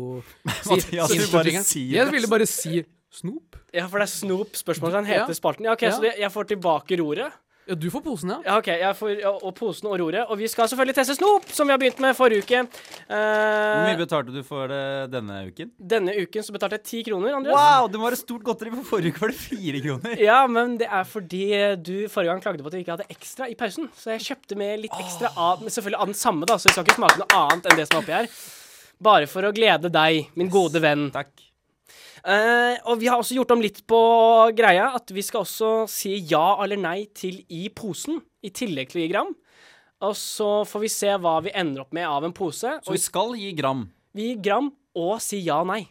E: Si,
C: Mathias, du
E: introtingen.
C: bare sier
E: jeg
C: det.
E: ville bare si Snop.
B: ja, for det er snop. Spørsmålstegn
E: Ja.
B: heter spalten. Ja, OK,
E: Ja.
B: så det, jeg får tilbake roret.
E: Ja, du får posen, ja.
B: Ja, OK. Jeg får, ja, og posen og roret. Og vi skal selvfølgelig teste snop, som vi har begynt med forrige uke.
C: Hvor
B: Uh,
C: mye betalte du for det denne uken?
B: Denne uken så betalte jeg ti kroner, Andreas.
C: Wow, det må være stort godteri, for forrige uke var det fire kroner.
B: Ja, men det er fordi eh, du forrige gang klagde på at vi ikke hadde ekstra i pausen. Så jeg kjøpte med litt ekstra av, men selvfølgelig av den samme, da, så vi skal ikke smake noe annet enn det som er oppi her. Bare for å glede deg, min gode venn.
C: Takk.
B: Eh, og vi har også gjort om litt på greia, at vi skal også si ja eller nei til i posen, i tillegg til å gi gram. Og så får vi se hva vi ender opp med av en pose.
C: Så vi skal gi gram.
B: Vi gir gram og si ja og nei.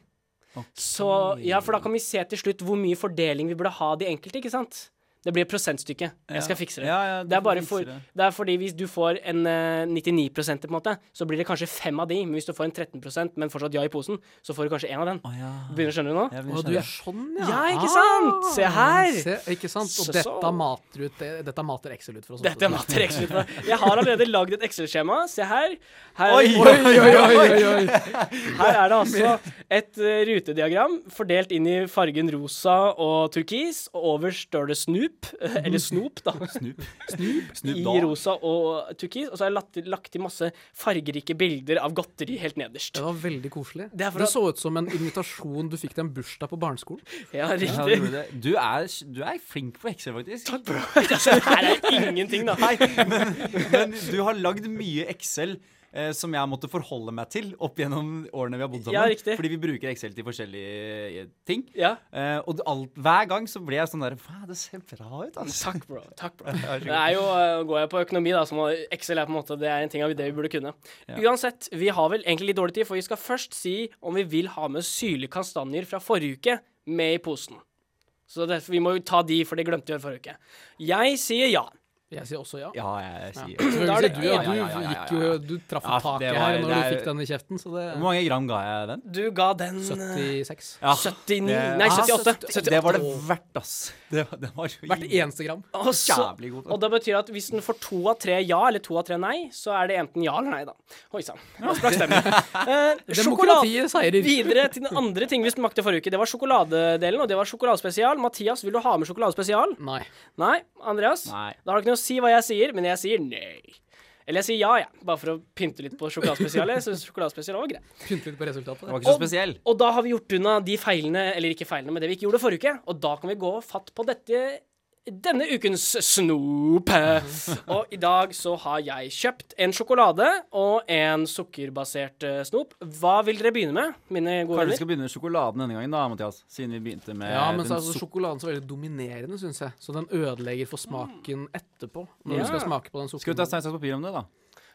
B: Så, ja, for da kan vi se til slutt hvor mye fordeling vi burde ha de enkelte, ikke sant? Det blir prosentstykket. Jeg skal fikse det.
C: Ja, ja, du
B: det, er bare
C: fikser
B: for,
C: det.
B: det er fordi hvis du får en eh, 99 på en måte, så blir det kanskje fem av de. Men hvis du får en 13 men fortsatt ja i posen, så får du kanskje én av den.
C: Å ja.
B: Begynner å skjønne det nå?
C: Jeg
E: Å,
C: begynner å
E: du
C: skjønne
E: er sånn, ja. Ah.
B: Ja, ikke sant? Se her.
E: Se, ikke sant? Og
B: Så-
E: dette mater, ut, det- dette mater Excel ut for oss.
B: Dette er matte Excel-skjema. Jeg har allerede lagd et Excel-skjema. Se her. Her,
C: Oi, oi,
E: Oi, oi, oi, oi, oi.
B: her er det altså et eh, rutediagram fordelt inn i fargen rosa og turkis. Og overst står det Snoop, eh, eller Snop, da.
C: Snup. Snup. Snup
B: I rosa og turkis. Og så har jeg lagt, til- lagt til masse fargerike bilder av godteri helt nederst.
E: Det var veldig koselig.
B: Det er
E: Det,
B: for at-
E: så ut som en invitasjon du fikk til en bursdag på barneskolen.
B: Ja,
C: Ja, du,
B: riktig.
C: gjorde det. du, er, du er flink på Excel, faktisk.
B: Altså, her er ingenting, da.
C: Nei, men, men du har lagd mye Excel eh, som jeg måtte forholde meg til opp gjennom årene vi har bodd sammen.
B: Ja, riktig.
C: Fordi vi bruker Excel til forskjellige eh, ting.
B: Ja.
C: Eh, og det- alt, hver gang så ble jeg sånn der Wow, det ser bra ut, altså.
B: Takk, bro. Takk, bro.
C: Ja,
B: Det er jo, eh, går jeg på økonomi, da, som Excel er på en måte det er en ting av det vi burde kunne.
C: Ja.
B: Uansett, vi har vel egentlig litt dårlig tid, for vi skal først si om vi vil ha med syrlige kastanjer fra forrige uke med i posen. Så derfor, vi må jo ta de, for det glemte vi å gjøre forrige uke. Jeg sier ja.
E: Jeg sier også ja.
C: Ja, jeg
E: Ja.
C: sier
E: Selvfølgelig
B: Da er det
E: sier
B: du,
E: du,
B: ja.
E: ja,
C: Ja, ja, ja,
E: du
C: ja,
E: gikk
C: ja,
E: jo
C: ja.
E: Du traff
C: Ja,
E: i taket
C: det var-
E: her når
C: det
E: du
C: er-
E: fikk den i kjeften, så det
C: Hvor mange gram ga jeg den?
B: Du ga den eh,
E: 76.
C: Ja. Ah,
B: 79 Nei, 78. 78.
C: Det var det verdt, ass. Det, var- det var så
E: Hvert
C: jævlig-
E: eneste gram.
B: Og så-
C: Jævlig god.
B: Og det betyr at hvis den får to av tre ja eller to av tre nei, så er det enten ja eller nei, da. Oi sann. Nå sprakk stemmen. Eh, sjokolade-
E: Demokratiet seirer.
B: Videre til den andre ting vi smakte forrige uke. Det var sjokoladedelen, og det var sjokoladespesial. Mathias, vil du ha med sjokoladespesial?
E: Nei.
B: Nei. Andreas?
C: Nei.
B: Da har det ikke noe å si hva jeg sier, men jeg sier nei. Eller jeg sier ja, jeg. Ja. Bare for å pynte litt på sjokoladespesialet. Jeg synes sjokoladespesial var greit.
E: Pynt litt
C: Det
E: på
C: var
E: resultatet.
C: ikke så spesiell.
B: Og da har vi gjort unna de feilene, eller ikke feilene, men det vi ikke gjorde forrige uke. Og da kan vi gå fatt på dette denne ukens snop. Og i dag så har jeg kjøpt en sjokolade og en sukkerbasert eh, snop. Hva vil dere begynne med, mine gode
C: Kanskje vi
B: venner?
C: skal begynne med sjokoladen denne gangen, da, Mathias. Siden vi begynte med
E: Ja, men
C: den
E: så er altså
C: suk-
E: sjokoladen så veldig dominerende, syns jeg. Så den ødelegger for smaken etterpå.
B: Ja.
E: Når du skal smake på den
C: Skal vi ta
E: sukkeren.
C: stein, saks, papir om det, da?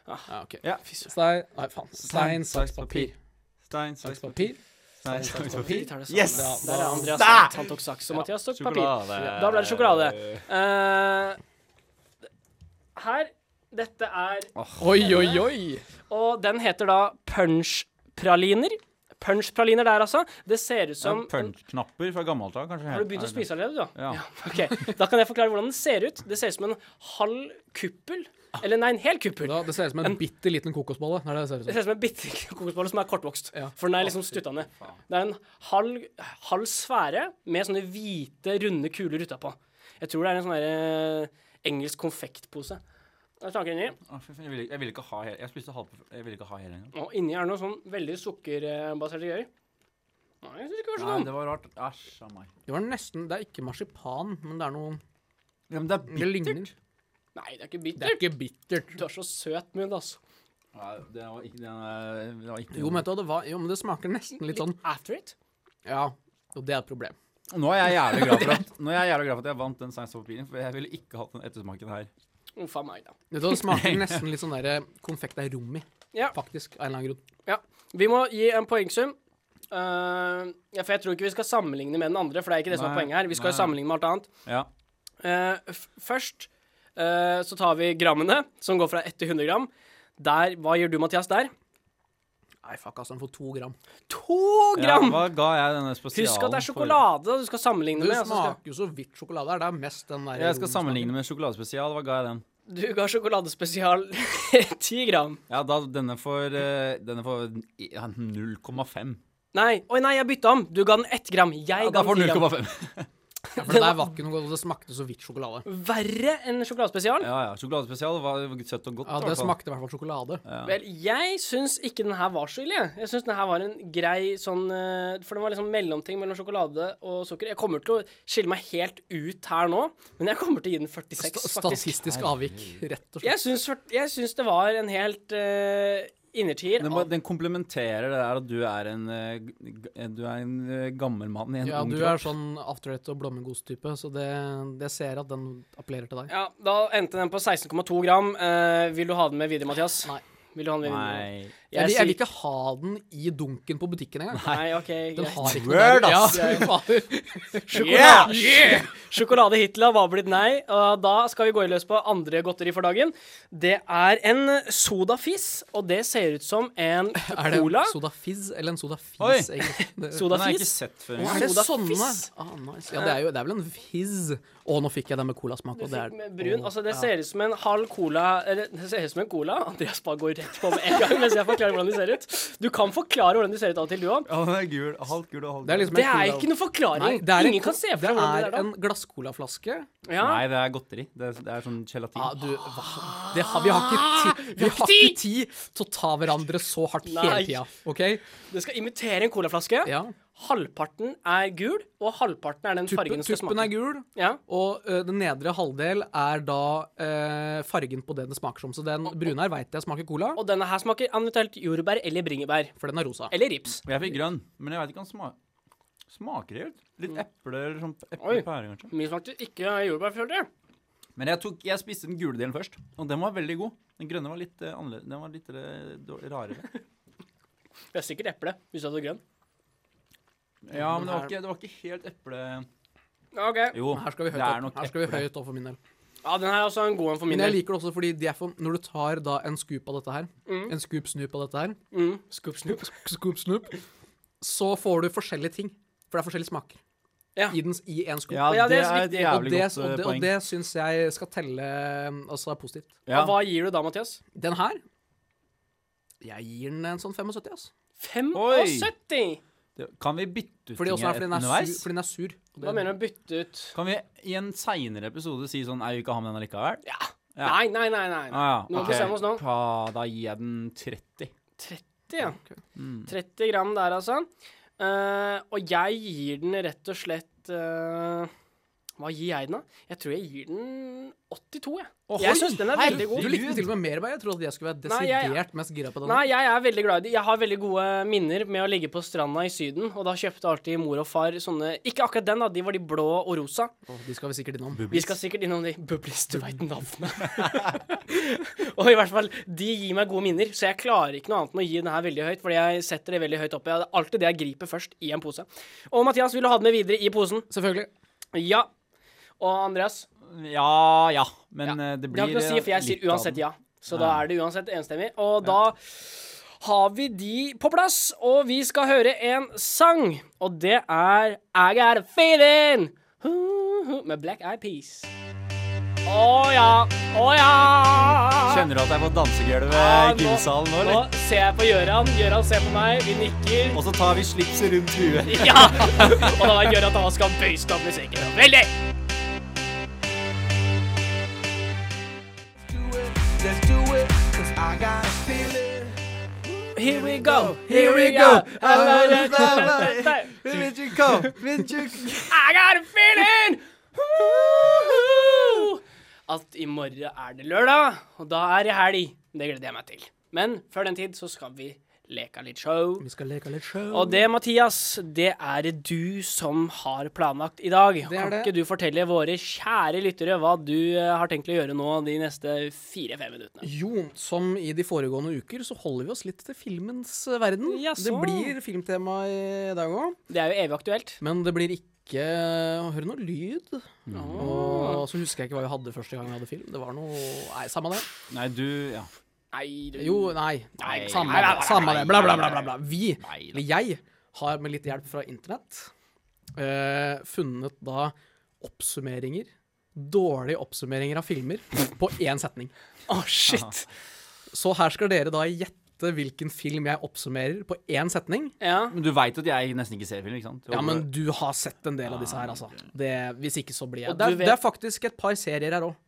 E: Ja, ok.
C: Ja.
E: Stein Nei, faen. Stein, saks, papir.
C: Stein, stein, saks,
E: Saks, papir.
C: papir.
B: Vi tar det sammen.
C: Yes!
B: Ja, Der er Andreas.
C: Da!
B: Han tok saks, og Mathias tok papir.
C: Sjokolade.
B: Da ble det sjokolade. Eh, her Dette er
E: Oi, oi, oi!
B: Og den heter da punchpraliner. Punchpraliner der, altså. Det ser ut som
C: Som Sånn, punch-knapper fra gammelt av, kanskje.
B: Har du begynt å spise allerede, du? da?
C: Ja.
B: Ok, Da kan jeg forklare hvordan den ser ut. Det ser ut som en halv kuppel. Eller nei, en hel kuppel.
E: Da, det ser ut som en bitte liten kokosbolle. Det er det det ser ut
B: Det
E: som.
B: ser ut som en bitte kokosbolle som er kortvokst.
E: Ja.
B: For den er liksom stutta ned. Det er en halv, halv sfære med sånne hvite, runde kuler utapå. Jeg tror det er en sånn derre engelsk konfektpose. Der snakker den i.
C: Jeg ville, jeg ville ikke ha hele. Jeg spiste halv Jeg ville ikke ha hele engang.
B: Og inni er det noe sånn veldig sukkerbaserte greier. Nei, jeg syns ikke det var så
C: Nei,
B: dumt.
C: det var rart. Æsj a meg.
E: Det var nesten Det er ikke marsipan, men det er noe
C: Ja, men det er
E: Det ligner.
B: Nei, det er ikke
E: Det er
B: bittert.
E: ikke bittert.
B: Du har så søt munn, altså.
C: Nei, det var ikke, den er, det var ikke
E: Jo, men, vet du hva, det var, jo, men det smaker nesten litt sånn
B: after it.
E: Ja, og det er et problem.
C: Nå er jeg jævlig glad for at, nå er jeg, jævlig glad for at jeg vant den Science of Papiren, for jeg ville ikke hatt den ettersmaken her.
B: Uff a meg, da.
E: Vet du hva, Det smaker nesten litt sånn der konfekt er rom i,
B: Ja.
E: faktisk. Av en eller annen grunn.
B: Ja. Vi må gi en poengsum. Eh, ja, for jeg tror ikke vi skal sammenligne med den andre, for det er ikke det som er
C: Nei,
B: poenget her. Vi skal jo
C: nei.
B: sammenligne med alt annet.
C: Ja.
B: Eh, f- først eh, så tar vi grammene, som går fra 1 til 100 gram. Der, hva gjør du, Mathias, der?
E: Nei, fuck, altså. Den får to gram.
B: To
C: ja.
B: gram!
C: Hva ga jeg denne spesialen?
B: Husk at det er
C: for-
B: sjokolade du skal sammenligne
E: Det
B: med. altså, og så skal-
E: smaker jo så vidt sjokolade her. Det er mest den der
C: Jeg skal
E: romsmaken.
C: sammenligne med sjokoladespesial. Hva ga jeg den?
B: Du ga sjokoladespesial 10 gram.
C: Ja, da, denne får, eh, denne får ja, 0,5.
B: Nei, oi nei, jeg bytta om. Du ga den 1 gram. Jeg
C: Ja,
B: ga
C: da får
B: den 10
C: den
B: gram.
C: 0,5.
E: Ja, for det der var ikke noe godt. og Det smakte så vidt sjokolade.
B: Verre enn sjokoladespesial.
C: Ja, ja. Sjokoladespesial var søtt og godt.
E: Ja,
C: i
E: det
C: hvert fall.
E: smakte i hvert fall sjokolade.
B: Vel, jeg syns ikke den her var så ille. jeg. Jeg syns den her var en grei sånn eh, For den var liksom mellomting mellom sjokolade og sukker. Jeg kommer til å skille meg helt ut her nå, men jeg kommer til å gi den 46, faktisk.
E: Sta- Statistisk avvik, rett og slett.
B: Jeg syns, jeg syns det var en helt eh, innertier.
C: Den, må,
B: av-
C: den komplementerer det der at du er en, eh, g- g- du er en eh, gammel mann i en
E: Ja,
C: ung
E: du
C: kropp.
E: er sånn after it og blommegost-type, så det, det ser at den appellerer til deg.
B: Ja, da endte den på 16,2 gram. Eh, vil du ha den med videre, Mathias?
E: Nei.
B: Vil du ha den med videre?
C: Nei.
E: Jeg, vil- jeg vil
B: sier-
E: ikke ha den i dunken på butikken engang.
B: Nei, OK.
E: Den
B: greit.
E: har ikke
C: Word,
E: der.
C: ass.
E: Ja, fy faen.
B: Sjokolade, Sjokolade Hitler var blitt nei, og da skal vi gå i løs på andre godteri for dagen. Det er en sodafis, og det ser ut som en
E: Er det
B: cola.
E: en soda fizz eller en soda
C: Oi.
E: fizz? egentlig? Det-
C: Den har jeg ikke
B: Sodafis.
C: sett før.
E: Å, Er det
B: Soda
E: sånne?
B: fizz.
E: Ah, nice. Ja, det er jo det er vel en fizz. Å, nå fikk jeg den med colasmak.
B: Du
E: og det er-
B: fikk med brun.
E: Å,
B: Altså, det
E: ja.
B: ser ut som en halv cola Eller, det ser ut som en cola. Andreas bare går rett på med en gang mens jeg forklarer hvordan de ser ut. Du kan forklare hvordan de ser ut av og til, du òg.
C: Ja, den er gul. Halvt gul og halvt
E: Det er liksom
B: Det
E: en
B: er
E: cola-
B: ikke noe forklaring.
E: Nei, det er en
B: Ingen
E: co-
B: kan se for
E: Det
B: seg hvordan
E: er
B: det er.
E: en glasscolaflaske.
B: da. Ja.
C: Nei, det er godteri. Det er, det er sånn gelatin.
E: Ja, du, hva? det har, vi har ikke tid Vi har ikke tid til å ta hverandre så hardt hele
B: Nei.
E: tida, OK?
B: Det skal imitere en colaflaske.
E: Ja.
B: Halvparten er gul, og halvparten er den fargen den
E: Tuppen,
B: skal
E: tuppen
B: smake.
E: er gul,
B: Ja.
E: og ø, den nedre halvdel er da ø, fargen på det det smaker som. Så den brune her veit jeg smaker cola,
B: Og denne her smaker eventuelt jordbær eller bringebær.
E: for den er rosa.
B: Eller rips.
C: Jeg fikk grønn, men jeg veit ikke om den sma smaker helt. Litt
E: Mm.
C: eple eller sånn eple
B: Oi.
C: pære, kanskje.
B: Min smakte ikke jordbær, følte jeg.
C: Men jeg, tok, jeg spiste den gule delen først, og den var veldig god. Den grønne var litt eh, annerledes. Den var litt eh, dår- rarere.
B: Det er sikkert eple, hvis du hadde grønn.
C: Ja, men det var ikke, det var ikke helt eple...
B: OK.
C: Jo,
E: Men Her skal vi høyt
C: det er
E: opp.
C: nok
E: Her skal vi
C: eple.
E: høyt opp for min del.
B: Ja, den her er også en god en for min
E: Men jeg
B: del.
E: liker det også fordi de er for, når du tar da en scoop av dette her, en scoop snoop av dette her,
B: Mm. Scoop snoop.
E: scoop snoop, så får du forskjellige ting. For det er forskjellige smaker
B: Ja.
E: i, den, i en scoop.
C: Ja,
B: Ja,
C: det
B: det er så
C: er et
B: viktig.
E: og
C: jævlig
E: det,
C: godt
E: og
C: eh,
E: det, og
C: poeng.
E: det syns jeg skal telle um, Altså er positivt.
C: Ja.
B: Hva gir du da, Mathias?
E: Den her Jeg gir den en sånn 75, ass.
B: 75!
C: Det- Kan vi bytte ut
E: Fordi, også
C: ting
E: er, fordi, den, er
C: underveis?
E: sur, fordi den er sur. Og
B: Hva
E: det-
B: mener du med bytte ut?
C: Kan vi i en seinere episode si sånn Nei, vi kan ha med den allikevel? Ja. Ja.
B: Nei, nei, nei. nei.
C: Ah, ja.
B: Nå
C: ok.
B: bestemmer vi oss nå.
C: Pa, da gir jeg den 30.
B: 30, ja.
E: Mm.
B: 30 gram der, altså. Eh, og jeg gir den rett og slett eh, Hva gir jeg den, da? Jeg tror jeg gir den 82, jeg. jeg syns den er veldig god.
E: Du likte den til og med mer enn meg. Jeg trodde jeg skulle være
B: Nei,
E: desidert
B: jeg-
E: mest gira på den.
B: Nei, jeg er veldig glad i det. Jeg har veldig gode minner med å ligge på stranda i Syden, og da kjøpte alltid mor og far sånne Ikke akkurat den, da. De var de blå og rosa.
E: Åh, de skal vi sikkert innom.
B: Vi skal sikkert innom de Bublis, du veit navnet. og i hvert fall, de gir meg gode minner, så jeg klarer ikke noe annet enn å gi den her veldig høyt, fordi jeg setter det veldig høyt oppe. Det er alltid det jeg griper først i en pose. Og Mathias, vil du ha den med videre i posen?
E: Selvfølgelig.
B: Ja. Og Andreas?
C: Ja, ja. Men
B: Ja.
C: eh, det
B: Det
C: blir
B: har ikke noe å si, for jeg
C: litt
B: sier uansett
C: av den.
B: ja. Så da er det uansett enstemmig. Og da har vi de på plass, og vi skal høre en sang. Og det er I Got A Feeling med Black Eyed Peas. Å ja, å ja.
C: Kjenner du at jeg er på dansegulvet
B: Ja,
C: i
B: nå-
C: gymsalen nå,
B: Nå
C: eller?
B: ser jeg på Gøran. Gøran ser på meg. Vi nikker.
C: Og så tar vi slipset rundt huet.
B: Ja! Og da vet Gøran at han skal bøyste opp musikken. Veldig! Here we go, here we go. I got a feeling Woo-hoo! At i morgen er det lørdag, og da er det helg. Det gleder jeg meg til. Men før den tid så skal vi leke litt show.
E: Vi skal leke litt show.
B: Og det, Mathias, det er det du som har planlagt i dag. Kan
E: det.
B: ikke du fortelle våre kjære lyttere hva du eh, har tenkt å gjøre nå de neste fire-fem minuttene?
E: Jo, som i de foregående uker, så holder vi oss litt til filmens eh, verden.
B: Jaså.
E: Det blir filmtema i dag òg,
B: Det er jo evig aktuelt.
E: men det blir ikke å høre noe lyd.
C: Mm.
E: Og så husker jeg ikke hva vi hadde første gang vi hadde film. Det var noe Nei, samme det.
C: Nei, du Ja.
B: Nei, du
E: Jo, nei.
B: Nei.
E: Samme
B: Nei, nei,
E: det.
B: nei,
E: Samme
B: nei,
E: det. Bla, bla,
B: nei,
E: bla, bla. bla. Vi,
C: Nei,
E: eller jeg, har med litt hjelp fra internett eh, funnet da oppsummeringer. Dårlige oppsummeringer av filmer på én setning.
B: Å, shit.
E: Så her skal dere da gjette hvilken film jeg oppsummerer på én setning.
B: Ja.
C: Men du veit at jeg nesten ikke ser film, ikke sant?
E: Ja, men du har sett en del av disse her, altså. Det, hvis ikke så blir jeg
B: Ah. Og
E: det
B: du
E: er,
B: vet-
E: det er faktisk et par serier her òg,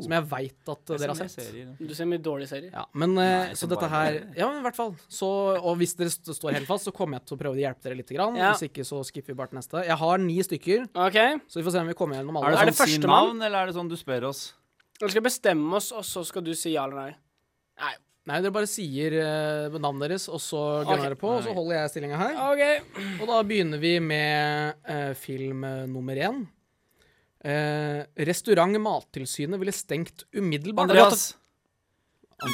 E: som jeg veit at dere
B: altså.
E: har sett.
B: Du ser mye dårlige serier.
E: Ja, men eh,
C: Nei,
E: så
C: som
E: dette
C: bare-
E: her Ja, men i hvert fall. Så, og hvis dere st står helt fast, så kommer jeg til å prøve å hjelpe dere litt. Grann.
B: Ja.
E: Hvis ikke, så skipper vi bare til neste. Jeg har ni stykker,
B: OK.
E: så vi får se om vi kommer gjennom alle.
C: Er
B: Er
C: det, sånn
B: det
C: si
B: første mann?
C: navn, eller er det sånn du spør oss?
B: Vi skal bestemme oss, og så skal du si ja eller nei. Nei.
C: sånn-
E: Nei, dere bare sier eh, navnet deres, og så gunner
B: Ok.
E: dere på, og så holder jeg stillinga her.
B: OK.
E: Og da begynner vi med eh, film eh, nummer én. Eh, restaurant Mattilsynet ville stengt umiddelbart.
C: Andreas!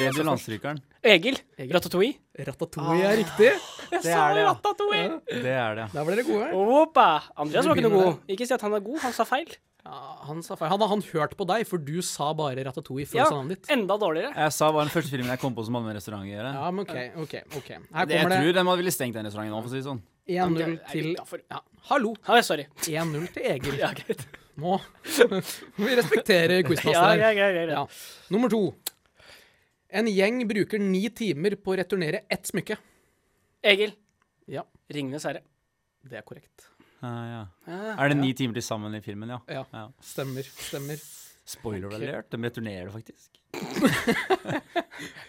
C: Lever landstrykeren.
B: Egil.
E: Egil.
B: Ratatouille.
E: Ratatouille
C: Ah.
E: er riktig.
B: Jeg
C: Det
B: sa
C: er det, ja.
B: Ratatouille.
C: Det er det.
E: Der var dere gode.
B: Opa. Andreas var ikke noe
E: begynner
B: god. Ikke si at han er god, han sa feil.
E: Ja, han sa feil. Hadde han hørt på deg, for du sa bare Ratatouille før
B: Ja,
E: du sa navnet ditt.
B: enda dårligere.
C: Jeg sa var den første filmen jeg kom på som hadde med restaurant å gjøre.
E: Ja, men OK. ok, ok.
C: Det-
E: Her
C: jeg
E: kommer
C: tror
E: det
C: den hadde ville stengt den restauranten nå, for å si det sånn.
E: 1-0
B: Det er
E: til
B: utenfor.
E: ja, Hallo!
B: Ja, sorry.
E: 1-0 til Egil.
B: Ja, greit.
E: Nå må vi respektere
B: Ja,
E: quizmasteren.
B: ja, ja, ja, ja.
E: Ja. Nummer to. En gjeng bruker ni timer på å returnere ett smykke.
B: Egil.
E: Ja.
B: Ringenes herre.
E: Det er korrekt.
C: Ja, ja.
B: Ah.
C: Er det ni timer til sammen i filmen, ja?
E: Ja. Stemmer. Stemmer.
C: Spoiler alert, de returnerer det faktisk.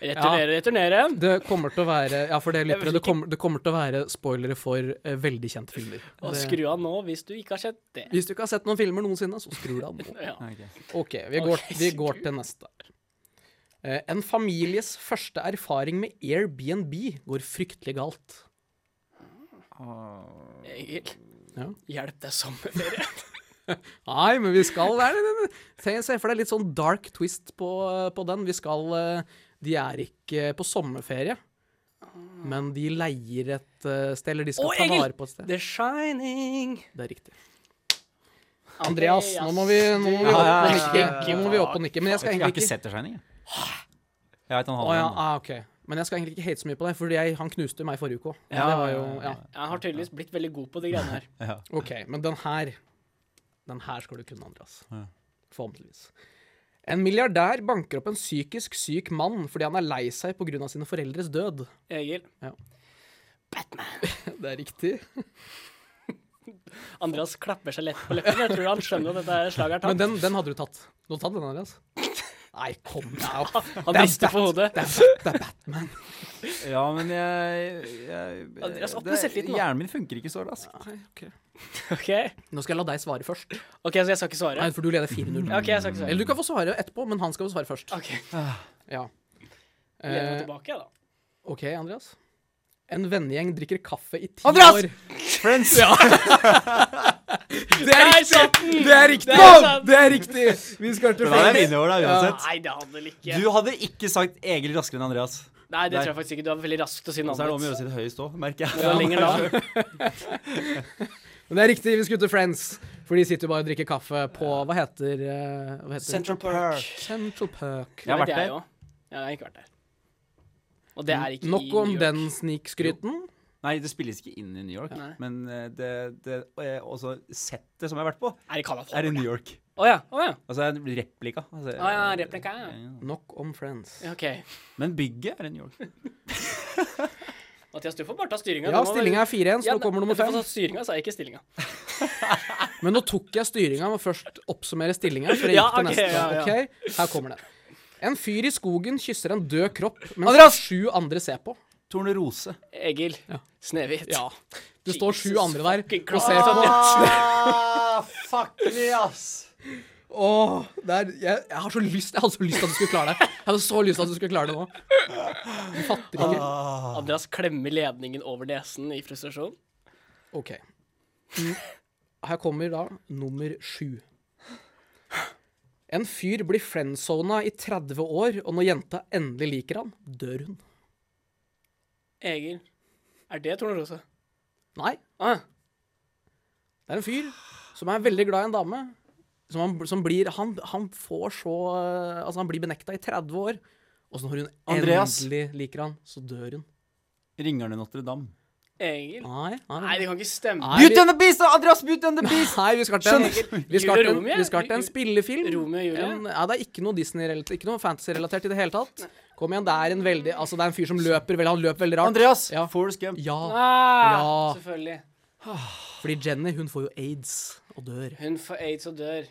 B: Returnere, returnere.
E: Det kommer til å være Ja, for det lyttere,
B: vet
E: det
B: ikke.
E: kommer, det kommer til å være spoilere for eh, veldig kjente filmer.
B: Og
E: Det-
B: skru av nå hvis du ikke har sett det.
E: Hvis du ikke har sett noen filmer noensinne, så skrur du av nå.
B: Ja.
C: Ja, ok.
E: OK, vi går,
B: Ok,
E: vi
B: skru.
E: går til neste. Eh, en families første erfaring med Airbnb går fryktelig galt.
B: Egil,
E: Ja.
B: hjelp deg sommerferie.
E: Nei, men vi skal det er- det- det- Se, se for deg litt sånn dark twist på, på den. Vi skal eh, De er ikke på sommerferie, men de leier et eh, sted, eller de skal
B: Å,
E: ta
B: Egil!
E: vare på et sted.
B: The Shining.
E: Det er riktig. Andreas, nå må vi, nå må
B: Ja,
E: vi opp
B: ja,
E: og
B: ja,
E: nikke.
B: ja, ja.
E: Nå må vi opp og nikke. Men jeg skal
C: Jeg har ikke
E: egentlig ikke
C: sett The Shining, jeg. Jeg vet han
E: Å
C: har
E: ja,
C: den.
E: ah, ok. Men jeg skal egentlig ikke hate så mye på deg, for jeg, han knuste meg forrige uke òg.
C: Ja,
E: Det var jo Ja.
B: Jeg har tydeligvis blitt veldig god på de greiene her.
E: OK. Men den her Den her skal du kunne, Andreas. Forhåpentligvis. En milliardær banker opp en psykisk syk mann fordi han er lei seg pga. sine foreldres død.
B: Egil.
E: Ja.
B: Batman.
E: Det er riktig.
B: Andreas klapper seg lett på leppen. Jeg tror han skjønner at dette slaget er tatt.
E: Men den, den hadde du tatt. Du hadde tatt den, Andreas? Nei, kom deg opp.
B: Han rister på hodet.
E: Det er, det er Batman.
C: Ja, men jeg, jeg
B: Andreas, opp med
C: det-
B: selvtilliten, da.
C: Hjernen min funker ikke så raskt.
B: OK,
E: Nå skal jeg la deg svare først.
B: Ok, så jeg skal ikke svare?
E: Nei, for du leder 4-0.
B: OK, jeg skal ikke svare.
E: Eller du kan få svare etterpå, men han skal få svare først.
B: OK.
E: Ja.
B: Lener meg
E: Eh,
B: tilbake, da.
E: OK, Andreas. En vennegjeng drikker kaffe i ti
B: Andreas!
E: år.
C: Friends!
E: Det er
B: Der
E: riktig!
B: satt den!
E: Det er riktig!
B: Der satt den!
E: Det er riktig! Vi skal til
C: Den hadde jeg vunnet over deg uansett.
B: Nei, det hadde vel ikke.
C: Du hadde ikke sagt Egil raskere enn Andreas.
B: Nei, det tror jeg faktisk ikke. Du var veldig rask til å si
C: Og så er det
B: navnet
C: om å gjøre
B: ditt.
C: å si det høyest òg, merker
B: Det var
C: jeg.
B: lenger da.
E: Men det er riktig, vi skulle til Friends. For de sitter jo bare og drikker kaffe på Hva heter, eh, hva heter det?
B: Central Park.
E: Central Park.
C: Jeg har vært
B: Det vet jeg
C: der.
B: jo. Ja, jeg har ikke vært der. Og det er ikke i
E: Nok om
B: New York.
E: den snikskryten.
C: Nei, det spilles ikke inn i New York,
B: Nei.
C: men eh, det, det eh, også settet som jeg har vært på,
B: Er det Canada?
C: er i New York.
B: Å ja. Å ja.
C: Altså en replika. Altså,
B: Å ja, replika, ja.
E: Nok om Friends.
B: Ja, OK.
C: Men bygget er i New York.
B: Mathias, du får bare ta styringa.
E: Ja, stillinga er 4-1, så nå kommer nummer 5.
B: Styringa, sa jeg ikke stillinga.
E: Men nå tok jeg styringa med å først oppsummere stillinga. før jeg
B: Ja,
E: gikk til
B: ok,
E: neste.
B: ja, ja.
E: Ok, Her kommer den. En fyr i skogen kysser en død kropp mens sju andre ser på.
C: Tornerose.
B: Egil. Snehvit.
E: Ja. Det står sju
B: Jesus
E: andre der
B: fucking
E: og ser på.
C: Ah, fuck me, ass!
E: Åh, det er, jeg, jeg har så lyst Jeg hadde så lyst til at du skulle klare det. Jeg hadde så lyst til at du skulle klare det nå. Du fatter ikke.
B: Andreas klemmer ledningen over nesen i frustrasjon.
E: OK. Mm. Her kommer da nummer sju. En fyr blir friendzona i 30 år, og når jenta endelig liker han, dør hun.
B: Egil. Er det Tornerose?
E: Nei,
B: Ah,
E: Det er en fyr som er veldig glad i en dame. Som han, som blir, han, han får så eh, Altså, han blir benekta i 30 år. Og så når hun
C: Andreas.
E: endelig liker han, så dør hun.
C: Ringerne Notre-Dame.
B: Egil.
E: Nei, nei.
B: Nei, det kan ikke stemme.
E: Nei, vi,
C: and the Beast! Andreas Beauty and the
E: nei, vi skal til en, vi skal til en, vi skal til en spillefilm.
B: Romeo og Julie.
E: En, ja, det er ikke noe Disney-relatert, ikke noe fantasy-relatert i det hele tatt. Kom igjen, det er en veldig Altså, det er en fyr som løper veldig Han løper veldig rart.
C: Andreas!
E: Ja.
C: Forrest Gump.
E: Ja,
B: Ah,
E: Ja.
B: Selvfølgelig.
E: fordi Jenny, hun får jo aids og dør.
B: Hun får aids og dør.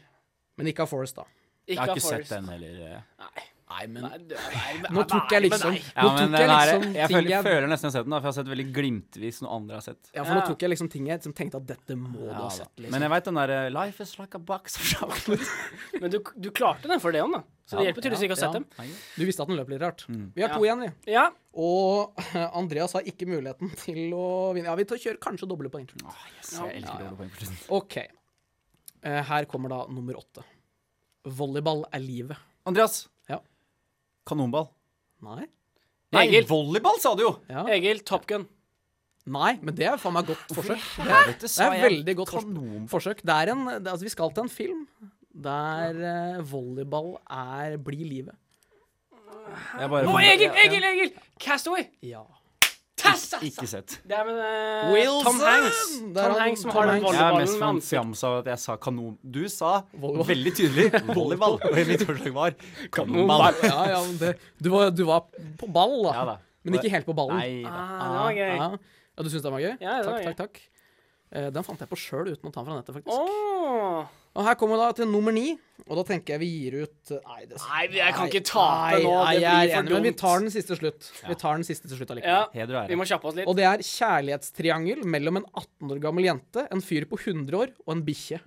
E: Men ikke av Forrest, da.
B: Ikke
C: Jeg har
B: av
C: ikke sett
B: Forrest.
C: den heller. eh.
E: Nei, men
B: Nei, dør- nei, men-
E: Nå tok jeg
B: nei, men
E: liksom
B: nei.
C: Ja,
E: Nå
C: men
E: tok
C: den
E: jeg
C: her,
E: liksom
C: jeg
E: ting
C: føler,
E: jeg
C: føler nesten jeg har sett den, da, for jeg har sett veldig glimtvis noe andre har sett.
E: Ja, for nå
B: Ja.
E: tok jeg liksom ting jeg liksom tenkte at dette må du ha
C: Ja, da.
E: sett. Liksom.
C: Men jeg veit den derre Life is like a box of chocolate.
B: Men du, du klarte den for det, Jan, da. Så det hjelper tydeligvis ikke å
E: ja.
B: sette dem.
E: Du visste at den løp litt rart.
C: Mm.
E: Vi har to igjen, vi.
B: Ja,
E: Og Andreas har ikke muligheten til å vinne. Ja, vi tar kjører kanskje doble poeng. tror jeg.
C: Jeg elsker dårlige poeng for tiden.
E: OK. Eh, Her kommer da nummer åtte. Volleyball er livet.
C: Andreas!
E: Ja.
C: Kanonball.
E: Nei?
C: Nei,
B: Egil.
C: volleyball sa du jo!
E: Ja.
B: Egil, Top Gun.
E: Nei, men det er faen meg godt forsøk.
C: Helvete,
E: Det
C: sa
E: er
C: jeg
E: veldig godt forsøk.
C: kanon.
E: forsøk. Det er en, det, altså, vi skal til en film der eh, volleyball er blir livet.
C: Jeg bare
B: Å, Egil, Egil, Egil! Castaway!
E: Ja.
B: Tassa!
C: Ikke sett.
B: Det er med eh,
E: Wilson!
B: Tom Hanks.
E: Det er
B: Tom
E: han-
B: Hanks som
E: Tom
B: har den
C: Jeg er
E: Hanks.
C: mest
B: volleyballen med ansikt.
C: fjams av at jeg sa kanon. Du sa
E: Volleyball.
C: veldig tydelig volleyball, og mitt forslag var kanonball.
E: Ja, ja, men det, du, var, du var på ball, da.
C: Ja da.
E: Men ikke helt på ballen.
C: Nei da.
B: Ah, det var gøy.
E: Ja. ja, du syns den var gøy?
B: Ja, det
E: takk,
B: var gøy.
E: takk, takk. Eh, Den fant jeg på sjøl uten å ta den fra nettet, faktisk.
B: Åh.
E: Og her kommer vi da til nummer ni, og da tenker jeg vi gir ut eh, Nei, det
B: Nei, jeg kan ikke tape
E: Nei,
B: nå.
E: nei,
B: Det blir
E: jeg er
B: for
E: enig, men vi
B: dumt.
E: tar den siste til slutt. Vi tar den siste til slutt
B: Ja,
E: allikevel.
C: Heder og
B: vi
C: ære.
B: må kjappe oss litt.
E: Og det er kjærlighetstriangel mellom en 18 år gammel jente, en fyr på 100 år og en bikkje.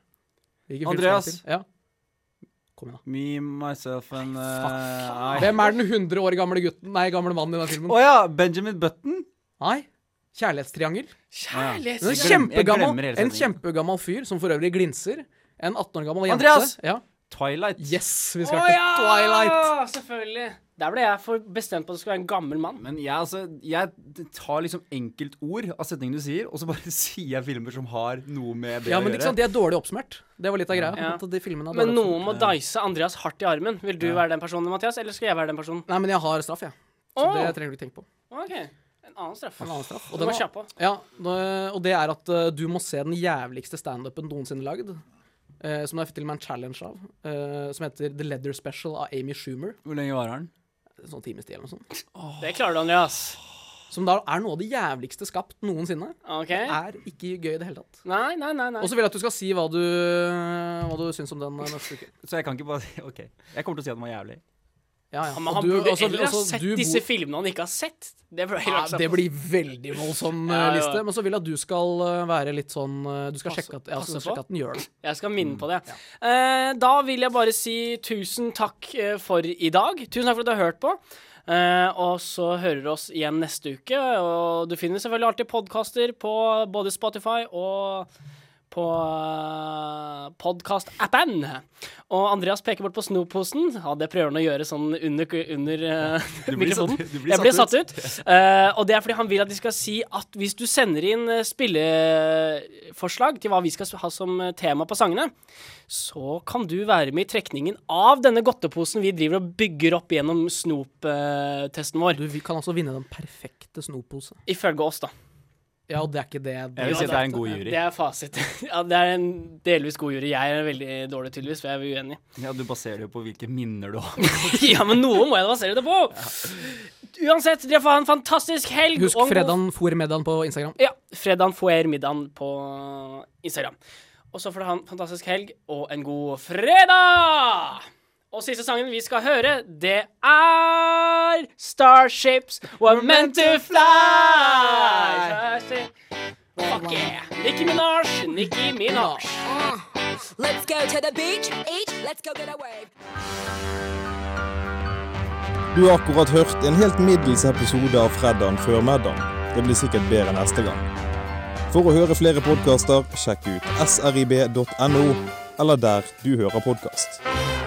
E: Hvilken film
C: Andreas.
E: skal den til? Ja. Kom igjen, da.
C: Me, myself and uh, I.
E: Hvem er den 100 år gamle gutten Nei, gamle mannen i den
C: Å
E: filmen?
C: ja! Benjamin Button.
E: Nei. Kjærlighetstriangel.
B: Kjærlighet.
E: En
C: Jeg glem- jeg
E: kjempegammel,
C: glemmer hele
E: en
C: sendingen.
E: kjempegammel fyr som for øvrig glinser. En 18 år gammel jente.
C: Andreas!
E: Ja.
C: Twilight.
E: Yes, vi skal til Twilight!
B: Selvfølgelig. Der ble jeg for bestemt på at det skulle være en gammel mann.
C: Men jeg, altså, jeg tar liksom enkeltord av setningene du sier, og så bare sier jeg filmer som har noe med det
E: Ja,
C: å
E: men
C: gjøre.
E: ikke sant, De er dårlig oppsummert. Det var litt av greia.
B: Ja.
E: At de filmene er
B: Men
E: dårlig
B: noen
E: oppsummert.
B: må dice Andreas hardt i armen. Vil du være den personen, Mathias, eller skal jeg være den personen?
E: Nei, men jeg har straff, jeg. Så
B: Åh.
E: det trenger du ikke tenke på.
B: OK. En annen straff.
E: En annen straff.
B: Og den var
E: var-
B: kjapp også.
E: Ja, nå- og det er at eh, du må se den jævligste standupen noensinne lagd. eh, som det er til og med en challenge av. eh, som heter The Leather Special av Amy Schumer.
C: Hvor lenge varer den?
E: Sånn times tid eller noe sånt.
B: Det klarer du, Andreas.
E: Som da er noe av det jævligste skapt noensinne.
B: OK.
E: Er ikke gøy i det hele tatt.
B: Nei, nei, nei. nei.
E: Og så vil jeg at du skal si hva du, hva du syns om den eh, neste uke.
C: Så jeg kan ikke bare si OK. Jeg kommer til å si at den var jævlig.
E: Ja, ja.
B: Ja, men
E: Og
B: han
E: du-
B: burde
E: altså,
B: heller ha
E: altså,
B: sett
E: du
B: disse
E: bor-
B: filmene han ikke har sett. Det burde jeg
E: ja,
B: lagt seg
E: det
B: på.
E: blir veldig voldsom eh,
B: Ja, ja.
E: liste. Men så vil jeg at du skal eh, være litt sånn eh, Du skal
B: Passe-
E: sjekke at, ja, du skal
B: passe på.
E: sjekke at den gjør det.
B: Jeg skal minne på det. Eh, da vil jeg bare si tusen takk eh, for i dag. Tusen takk for at du har hørt på. Eh, og så hører du oss igjen neste uke. Og du finner selvfølgelig alltid podkaster på både Spotify og på eh, podkast-appen. Og Andreas peker bort på snoposen. Ja, det prøver han å gjøre sånn under, under eh,
C: blir satt-
B: mikrofonen.
C: du blir
B: Jeg blir
C: satt
B: satt ut. Eh, og det er fordi han vil at de skal si at hvis du sender inn eh, spilleforslag til hva vi skal ha som eh, tema på sangene, så kan du være med i trekningen av denne godteposen vi driver og bygger opp gjennom snop-testen vår.
E: Du vi kan altså vinne den perfekte snopose.
B: Ifølge oss, da.
E: Ja, og det er ikke det
C: Jeg vil si at det er en god jury.
B: Det er fasit. ja, det er en delvis god jury. Jeg er veldig dårlig, tydeligvis, for jeg er uenig.
C: Ja, Du baserer det jo på hvilke minner du har.
B: ja, men noe må jeg basere det på! Uansett, dere får ha en fantastisk helg.
E: Husk
B: og en god
E: fredagen for middagen på Instagram.
B: Ja. Fredagen får middagen på Instagram. Og så får du ha en fantastisk helg og en god fredag! Og siste sangen vi skal høre, det er Starships Were Meant To Fly! Fuck yeah! Nicki Minaj, Nicki Minaj.
H: Let's go to the beach, eat, let's go get a wave.
I: Du har akkurat hørt en helt middels episode av Freddan før middagen. Det blir sikkert bedre neste gang. For å høre flere podkaster, sjekk ut srib.no, eller der du hører podkast.